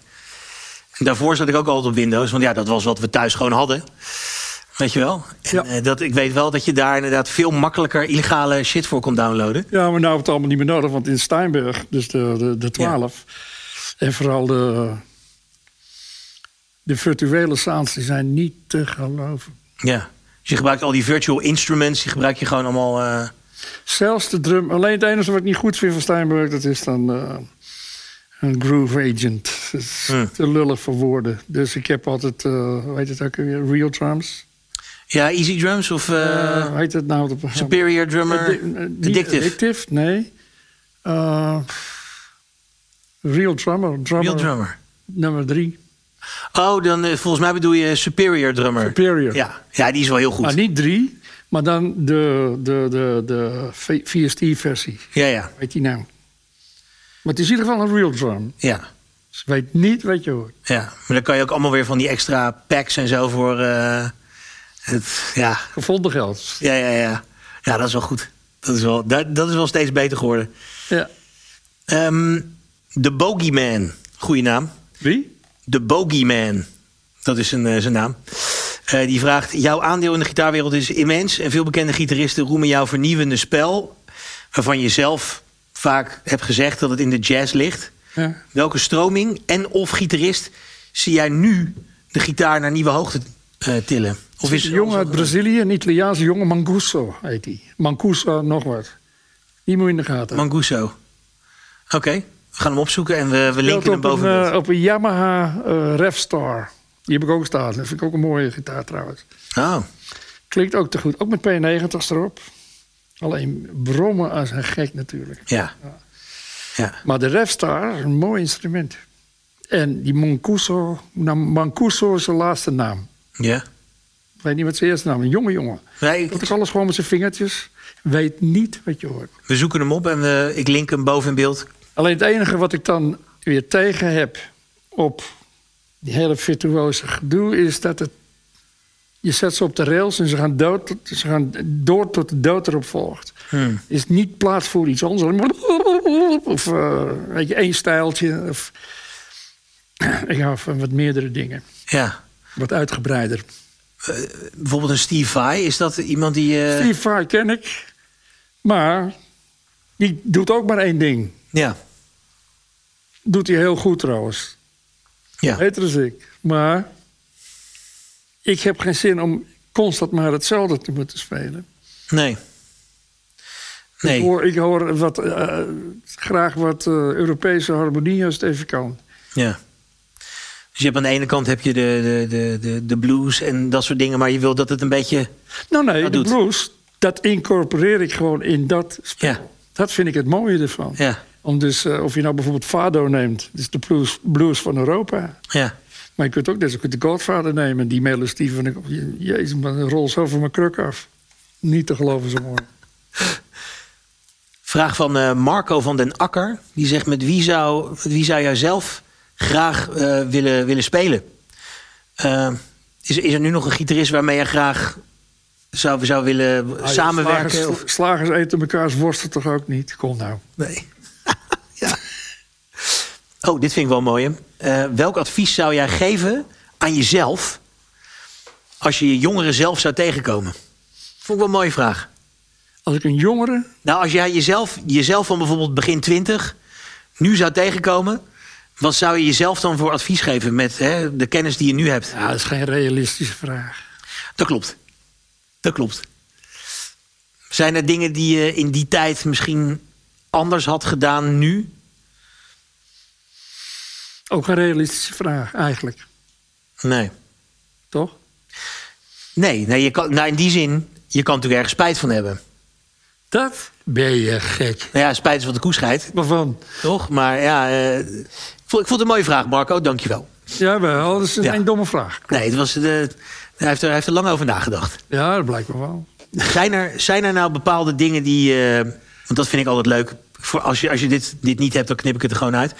En daarvoor zat ik ook altijd op Windows, want ja, dat was wat we thuis gewoon hadden. Weet je wel? En, Ja. eh, dat, ik weet wel dat je daar inderdaad veel makkelijker illegale shit voor kon downloaden. Ja, maar nou heb het allemaal niet meer nodig, want in Steinberg, dus de, de, de 12, en vooral de, de virtuele sounds, die zijn niet te geloven. Ja. Dus je gebruikt al die virtual instruments, die gebruik je gewoon allemaal. eh, Zelfs de drum, alleen het enige wat ik niet goed vind van Steinberg, dat is dan eh, een groove agent. Dat is Hm. te lullig voor woorden. Dus ik heb altijd, eh, hoe heet het ook weer, real drums. ja, Easy Drums of eh, Eh, hoe heet het nou? Dat programma? Superior Drummer. Addi- eh, niet Addictive. addictive, nee. Eh, real Drummer, drummer Real Drummer. nummer drie. Oh, dan eh, volgens mij bedoel je Superior Drummer. Superior. Ah, Ja, ja die is wel heel goed. Maar niet drie, maar dan de, de, de, de V- VST-versie. Ja, ja, Weet die nou? Maar het is in ieder geval een real drum. ja. Dus weet niet wat je hoort. Ja, maar dan kan je ook allemaal weer van die extra packs en zo voor. eh, het, ja, Gevonden geld. ja, ja, ja. Ja, dat is wel goed. Dat is wel, dat, dat is wel steeds beter geworden. Ja. Ehm de Bogeyman. Goeie naam. Wie? De Bogeyman. Dat is zijn, eh, zijn naam. Eh, die vraagt: Jouw aandeel in de gitaarwereld is immens. En veel bekende gitaristen roemen jouw vernieuwende spel. Waarvan je zelf vaak hebt gezegd dat het in de jazz ligt. Ja. Welke stroming en of gitarist zie jij nu de gitaar naar nieuwe hoogte eh, tillen? Of Of is een jongen uit Brazilië, een Italiaanse jongen, Mancuso heet die. Mancuso, nog wat. Die moet je in de gaten. houden. Manguso. Oké, we gaan hem opzoeken en we, we Speelt linken hem op een, boven. beeld. eh, op een Yamaha eh Revstar. Die heb ik ook staan. Dat vind ik ook een mooie gitaar trouwens. Oh, Klinkt ook te goed. Ook met P90's erop. Alleen brommen als een gek natuurlijk. ja. Ja, Maar de Revstar is een mooi instrument. En die Mancuso, nou, Mancuso is zijn laatste naam. ja. Ik weet niet wat zijn eerste naam is. Een jonge jongen. Nee, Dat ik- is alles gewoon met zijn vingertjes. Weet niet wat je hoort. we zoeken hem op en we, ik link hem boven in beeld. Alleen het enige wat ik dan weer tegen heb op die hele virtuoze gedoe is dat het. Je zet ze op de rails en ze gaan, dood, tot- ze gaan door tot de dood erop volgt. Hmm. Is niet plaats voor iets anders. Of eh, weet je, één stijltje. Of, ik hou van wat meerdere dingen. Ja, Wat uitgebreider. bijvoorbeeld een Steve Vai. Is dat iemand die... eh, Steve Vai ken ik. Maar die doet ook maar één ding. Ja, Doet hij heel goed trouwens. dus ja. Beter dan ik. Maar ik heb geen zin om constant maar hetzelfde te moeten spelen. Nee. Ik, Nee, hoor, ik hoor wat, eh, graag wat eh, Europese harmonie als het even kan. ja. Dus je hebt aan de ene kant heb je de, de, de, de, de blues en dat soort dingen, maar je wil dat het een beetje. Nou nee, Dat de doet. blues, dat incorporeer ik gewoon in dat spel. Ja. Dat vind ik het mooie ervan. Ja, Om dus, eh, of je nou bijvoorbeeld Fado neemt, dus de blues, blues van Europa. ja. Maar je kunt ook dus ook de Godfather nemen, die melodie van de... je- Jezus, maar een rol zo van mijn kruk af. Niet te geloven zo mooi. Vraag van eh, Marco van den Akker. Die zegt: met wie zou, met wie zou jij zelf graag eh, willen, willen spelen? Eh, is, is er nu nog een gitarist waarmee je graag zou, zou willen samenwerken? Slagers, of, slagers eten mekaars worsten toch ook niet? Kom nou. nee. ja. Oh, dit vind ik wel mooi. hè. Eh, welk advies zou jij geven aan jezelf als je je jongeren zelf zou tegenkomen? Vond ik wel een mooie vraag. Als ik een jongere Nou, als jij jezelf, jezelf van bijvoorbeeld begin 20 nu zou tegenkomen, wat zou je jezelf dan voor advies geven met hè, de kennis die je nu hebt? Ja, dat is geen realistische vraag. Dat klopt. Dat klopt. Zijn er dingen die je in die tijd misschien anders had gedaan nu? Ook geen realistische vraag, eigenlijk. Nee. Toch? Nee, nee je kan, nou in die zin, je kan natuurlijk ergens spijt van hebben. Dat ben je gek. Nou ja, spijt is wat de koe scheidt, Waarvan? toch? Maar ja, eh, ik vond ik vond het een mooie vraag, Marco. Dankjewel. Jawel, dat is een Ja. een domme vraag. Nee, het was, eh, hij, heeft er, hij heeft er lang over nagedacht. Ja, dat blijkt me wel. Zijn er, zijn er nou bepaalde dingen die. eh, want dat vind ik altijd leuk. Voor als je, als je dit, dit niet hebt, dan knip ik het er gewoon uit.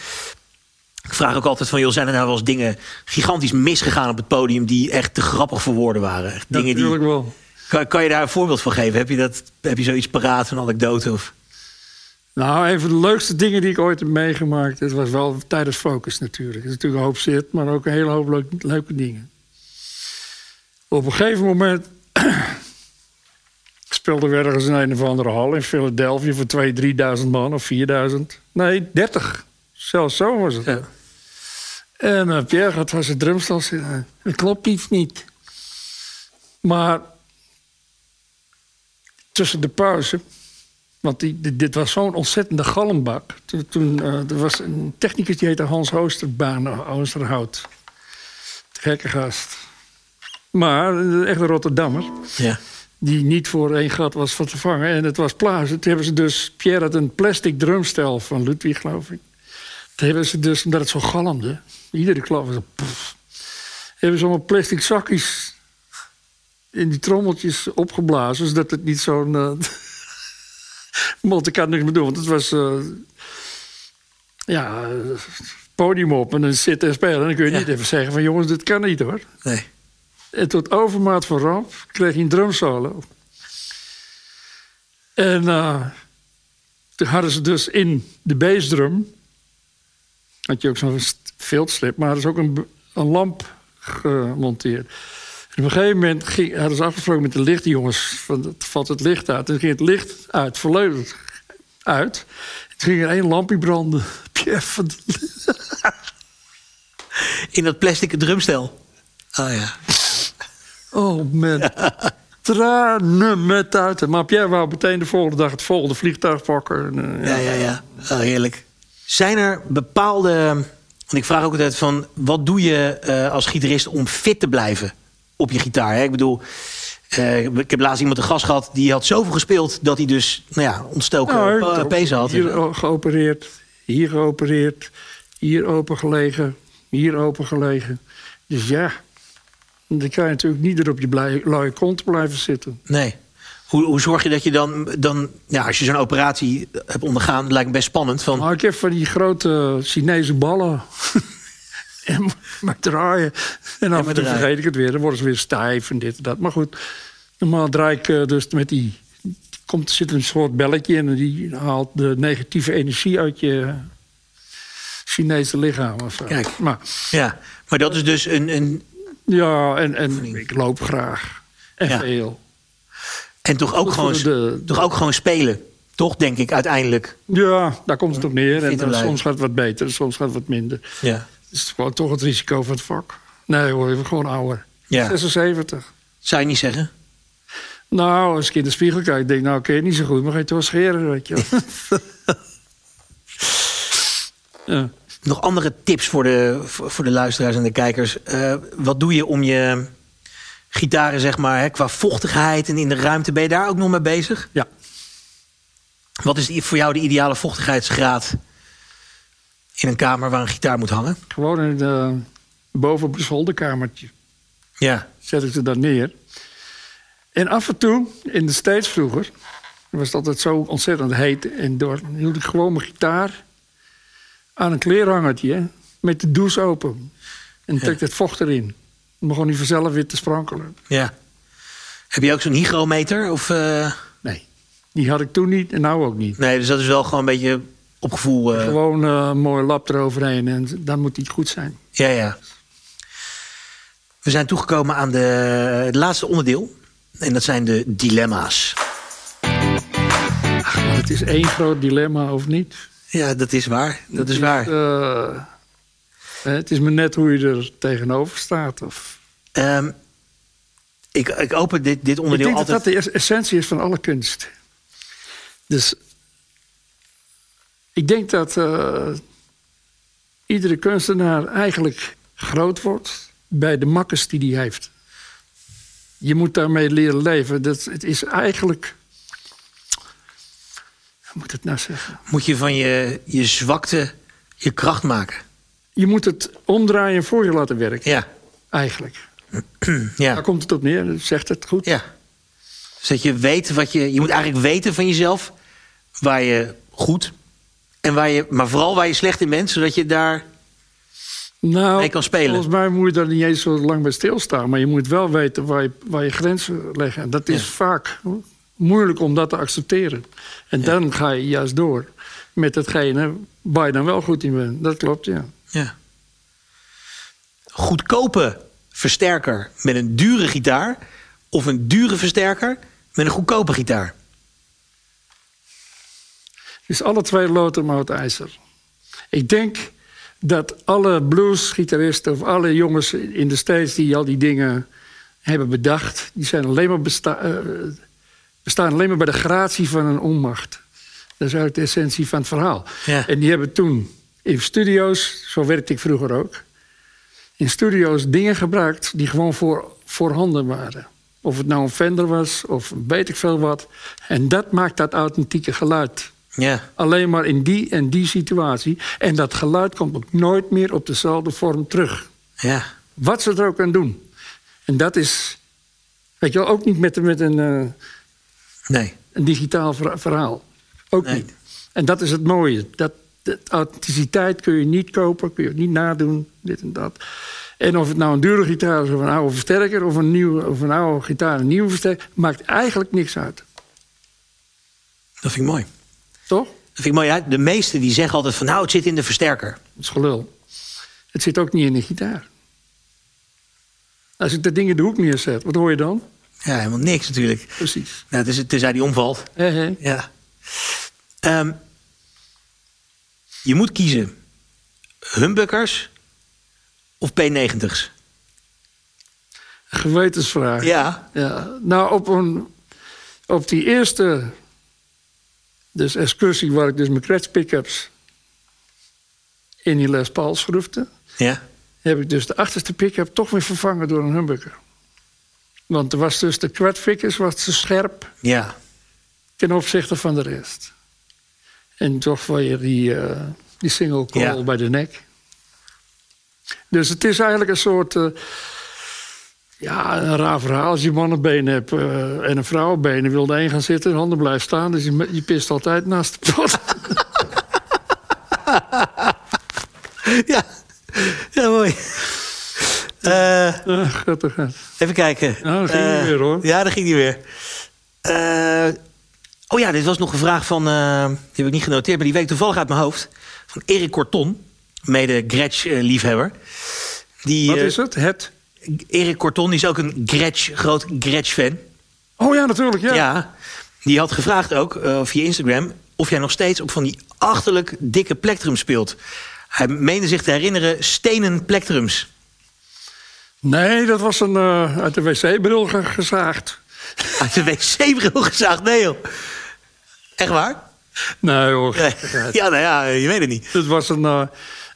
Ik vraag ook altijd van, joh, zijn er nou wel eens dingen gigantisch misgegaan op het podium die echt te grappig voor woorden waren? Echt dingen die, Natuurlijk wel. kan, kan je daar een voorbeeld van geven? Heb je, dat, heb je zoiets paraat, een anekdote? Of, Nou, een van de leukste dingen die ik ooit heb meegemaakt... dat was wel tijdens Focus natuurlijk. Er is natuurlijk een hoop shit, maar ook een hele hoop leuk- leuke dingen. Op een gegeven moment... speelde we ergens in een of andere hal in Philadelphia... voor 2.000, 3.000 man of 4.000. Nee, 30. Zelfs zo was het. ja. En eh, Pierre gaat van zijn drumstel zitten. Er klopt iets niet. Maar tussen de pauze... Want die, dit, dit was zo'n ontzettende galmbak. Toen, toen, eh, er was een technicus die heette Hans Oosterbaan, Oosterhout. Gekke gast. Maar eh, echt een Rotterdammer ja. die niet voor één gat was van te vangen. En het was plaatsen. Toen hebben ze dus... Pierre had een plastic drumstel van Ludwig, geloof ik. Toen hebben ze dus, omdat het zo galmde... Iedere klap was een poef. Hebben ze allemaal plastic zakjes in die trommeltjes opgeblazen... zodat het niet zo'n... eh Want ik kan niks meer doen, want het was... eh, ja, eh, podium op en dan zitten en spelen. En dan kun je Ja. niet even zeggen van... jongens, dit kan niet, hoor. Nee. En tot overmaat van ramp kreeg hij een drumsolo. En eh, toen hadden ze dus in de bassdrum... had je ook zo'n st- veldslip, maar hadden ze ook een, b- een lamp gemonteerd. En op een gegeven moment ging, hadden ze afgesproken met de lichtjongens... van het valt het licht uit. En ging het licht uit, volledig uit. Toen ging er één lampje branden. Pierre van de- In dat plastic drumstel. Ah ja. Oh man. Tranen met uit. Maar Pierre wou meteen de volgende dag het volgende vliegtuig pakken. En, eh, Ja, ja, ja. Oh, heerlijk. Zijn er bepaalde. Want ik vraag ook altijd van. Wat doe je eh, als gitarist om fit te blijven op je gitaar? Hè? Ik bedoel. eh, ik heb laatst iemand een gast gehad. die had zoveel gespeeld. dat hij dus. Nou ja, ontstoken Nou, nou, ook pezen had. Hier o- geopereerd, hier geopereerd, hier opengelegen, hier opengelegen. Dus ja, dan kan je natuurlijk niet er op je blij- luie kont blijven zitten. Nee. Hoe, hoe zorg je dat je dan. dan ja, als je zo'n operatie hebt ondergaan. lijkt me best spannend. Van, Maar ik heb van die grote Chinese ballen. en maar- maar draaien. En af en toe draaien. vergeet ik het weer. Dan worden ze weer stijf en dit en dat. Maar goed, normaal draai ik eh, dus met die... Komt, zit een soort belletje in en die haalt de negatieve energie uit je Chinese lichaam. Of zo. Kijk. Maar, ja. Maar dat is dus een. een ja, en, en ik loop graag. En Ja. veel. en toch ook, Goed voor gewoon, de- toch ook gewoon spelen. Toch, denk ik, uiteindelijk. Ja, daar komt het op neer. En Fitter dan blijven. soms gaat het wat beter, soms gaat het wat minder. Ja. Het is gewoon toch het risico van het vak. Nee hoor, je wordt gewoon ouder. Ja. 76. Zou je niet zeggen? Nou, als ik in de spiegel kijk, denk ik, nou, oké, niet zo goed, maar ga je toch wel scheren, weet je wel. Eh, ja. Nog andere tips voor de, voor voor de luisteraars en de kijkers. Eh, wat doe je om je gitaren, zeg maar, hè, qua vochtigheid en in de ruimte, ben je daar ook nog mee bezig? ja. Wat is die- voor jou de ideale vochtigheidsgraad in een kamer waar een gitaar moet hangen? Gewoon in de, boven op een zolderkamertje Ja. zet ik ze dan neer. En af en toe, in de steeds vroeger, was het altijd zo ontzettend heet en door, hield ik gewoon mijn gitaar aan een kleerhangertje hè, met de douche open. En trek het vocht erin. Het begon niet vanzelf weer te sprankelen. ja. Heb je ook zo'n hygrometer? Of, eh, Nee, die had ik toen niet en nou ook niet. Nee, dus dat is wel gewoon een beetje op gevoel. eh, Gewoon eh, een mooi lap eroverheen en dan moet die goed zijn. Ja, ja. We zijn toegekomen aan de, het laatste onderdeel. En dat zijn de dilemma's. Want het is één groot dilemma of niet. Ja, dat is waar. Dat is Het waar. eh, het is maar net hoe je er tegenover staat. Of... Ehm, ik, ik open dit, dit Ik onderdeel denk dat altijd. dat de es- essentie is van alle kunst. Dus ik denk dat eh, iedere kunstenaar eigenlijk groot wordt bij de makkers die hij heeft. Je moet daarmee leren leven. Dat, het is eigenlijk. Hoe moet ik het nou zeggen? Moet je van je, je zwakte je kracht maken. Je moet het omdraaien voor je laten werken, Ja, eigenlijk. Daar ja, komt het op neer, dat zegt het goed. ja. Dus dat je weet wat je. Je moet eigenlijk weten van jezelf waar je goed en waar je. Maar vooral waar je slecht in bent, zodat je daar. Nou, mee kan spelen. Volgens mij moet je daar niet eens zo lang bij stilstaan. Maar je moet wel weten waar je, waar je grenzen leggen. En dat is Ja. vaak moeilijk om dat te accepteren. En dan ga je juist door met datgene waar je dan wel goed in bent. Dat klopt, ja. Ja. Goedkope versterker met een dure gitaar. Of een dure versterker met een goedkope gitaar. Dus alle twee loten maar het ijzer. Ik denk dat alle bluesgitaristen of alle jongens in de States die al die dingen hebben bedacht, die zijn alleen maar besta- eh, bestaan alleen maar bij de gratie van een onmacht. Dat is eigenlijk de essentie van het verhaal. Ja. En die hebben toen in studio's, zo werkte ik vroeger ook, in studio's dingen gebruikt die gewoon voor, voorhanden waren. Of het nou een Fender was of weet ik veel wat. En dat maakt dat authentieke geluid. Ja. Alleen maar in die en die situatie. En dat geluid komt ook nooit meer op dezelfde vorm terug. Ja. Wat ze er ook aan doen. En dat is, weet je wel, ook niet met, met een, eh, Nee. een digitaal verha- verhaal. Ook Nee. niet. En dat is het mooie. Dat, dat authenticiteit kun je niet kopen, kun je ook niet nadoen, dit en dat. En of het nou een dure gitaar is of een oude versterker... of een, nieuwe, of een oude gitaar een nieuwe versterker... maakt eigenlijk niks uit. Dat vind ik mooi. Toch? Dat vind ik mooi. Ja, de meesten die zeggen altijd van nou, het zit in de versterker. Dat is gelul. Het zit ook niet in de gitaar. Als ik dat ding in de hoek neerzet, wat hoor je dan? Ja, helemaal niks natuurlijk. Precies. Nou, tenzij, tenzij die omvalt. Hé, hé. Ja. Ehm, je moet kiezen. Humbuckers of P90's? Gewetensvraag. Ja. Ja, nou, op, een, op die eerste dus excursie waar ik dus mijn Cratch pickups in die Les Pauls schroefde, Ja. heb ik dus de achterste pick-up toch weer vervangen door een humbucker. Want er was dus de Cratch was te scherp Ja. ten opzichte van de rest. En toch weer die, eh, die single call Ja. bij de nek. Dus het is eigenlijk een soort... eh, ja, een raar verhaal. Als je mannenbeen hebt eh, en een vrouwenbeen... en wil de een gaan zitten en de ander blijft staan... dus je, me- je pist altijd naast de pot. Ja, ja mooi. Eh, Ah, Grappig. even kijken. Nou, daar ging die Eh, weer, hoor. Ja, daar ging die weer. Eh, oh ja, dit was nog een vraag van... eh, die heb ik niet genoteerd, maar die weet ik toevallig uit mijn hoofd. Van Erik Corton, mede Gretsch-liefhebber. die Wat eh, is het? Het? Erik Corton die is ook een Gretsch, groot Gretsch-fan. Oh ja, natuurlijk, ja. Ja. Die had gevraagd ook eh, via Instagram of jij nog steeds op van die achterlijk dikke plectrum speelt. Hij meende zich te herinneren stenen plectrums. Nee, dat was een, eh, uit de wc-bril ge- gezaagd. Uit de wc-bril gezaagd? Nee, joh. Echt waar? Nee hoor, Nee. Ja, nou ja, je weet het niet. Het was een, eh,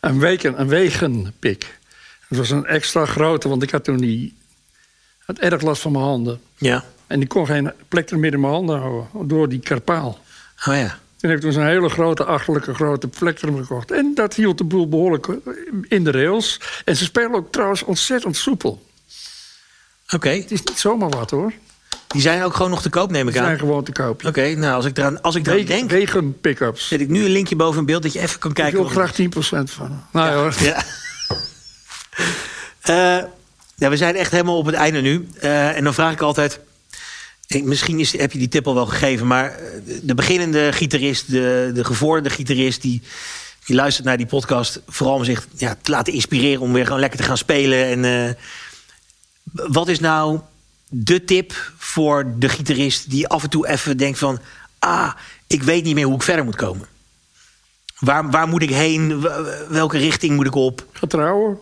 een, weken, een wegenpik. Het was een extra grote, want ik had toen die... had erg last van mijn handen. Ja. En ik kon geen plek meer in mijn handen houden, door die karpaal. Oh ja. Toen heb ik dus een hele grote, achterlijke grote plektrum gekocht. En dat hield de boel behoorlijk eh, in de rails. En ze spelen ook trouwens ontzettend soepel. Oké. Het is niet zomaar wat hoor. Ze Die zijn ook gewoon nog te koop, neem ik aan. zijn Oké, gewoon te koop. ja. nou, als ik eraan, als ik eraan Wegen- denk, Wegen pick-ups. zet ik nu een linkje boven in beeld dat je even kan Ik kijken. wil of- graag 10% van. Nou ja, hoor. Ja. Eh, ja, we zijn echt helemaal op het einde nu. Eh, en dan vraag ik altijd. eh, Misschien is, heb je die tip al wel gegeven, maar eh, de beginnende gitarist, de, de gevorderde gitarist, die, die luistert naar die podcast, vooral om zich ja, te laten inspireren om weer gewoon lekker te gaan spelen. En, eh, wat is nou de tip voor de gitarist die af en toe even denkt van, ah, ik weet niet meer hoe ik verder moet komen? Waar, waar moet ik heen? W- Welke richting moet ik op? Ga trouwen.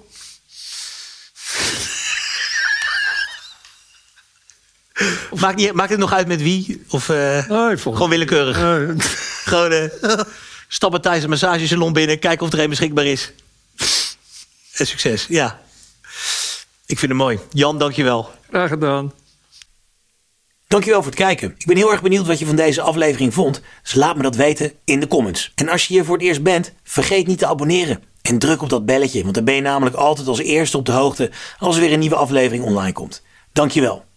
Maakt, niet, maakt het nog uit met wie? Of eh, Nee, volgens gewoon willekeurig? Nee, Gewoon eh, stappen tijdens een massagesalon binnen, kijken of er een beschikbaar is. En succes, ja. Ik vind het mooi. Jan, dankjewel. graag gedaan. Dankjewel voor het kijken. Ik ben heel erg benieuwd wat je van deze aflevering vond. Dus laat me dat weten in de comments. En als je hier voor het eerst bent, vergeet niet te abonneren. En druk op dat belletje, want dan ben je namelijk altijd als eerste op de hoogte als er weer een nieuwe aflevering online komt. Dankjewel.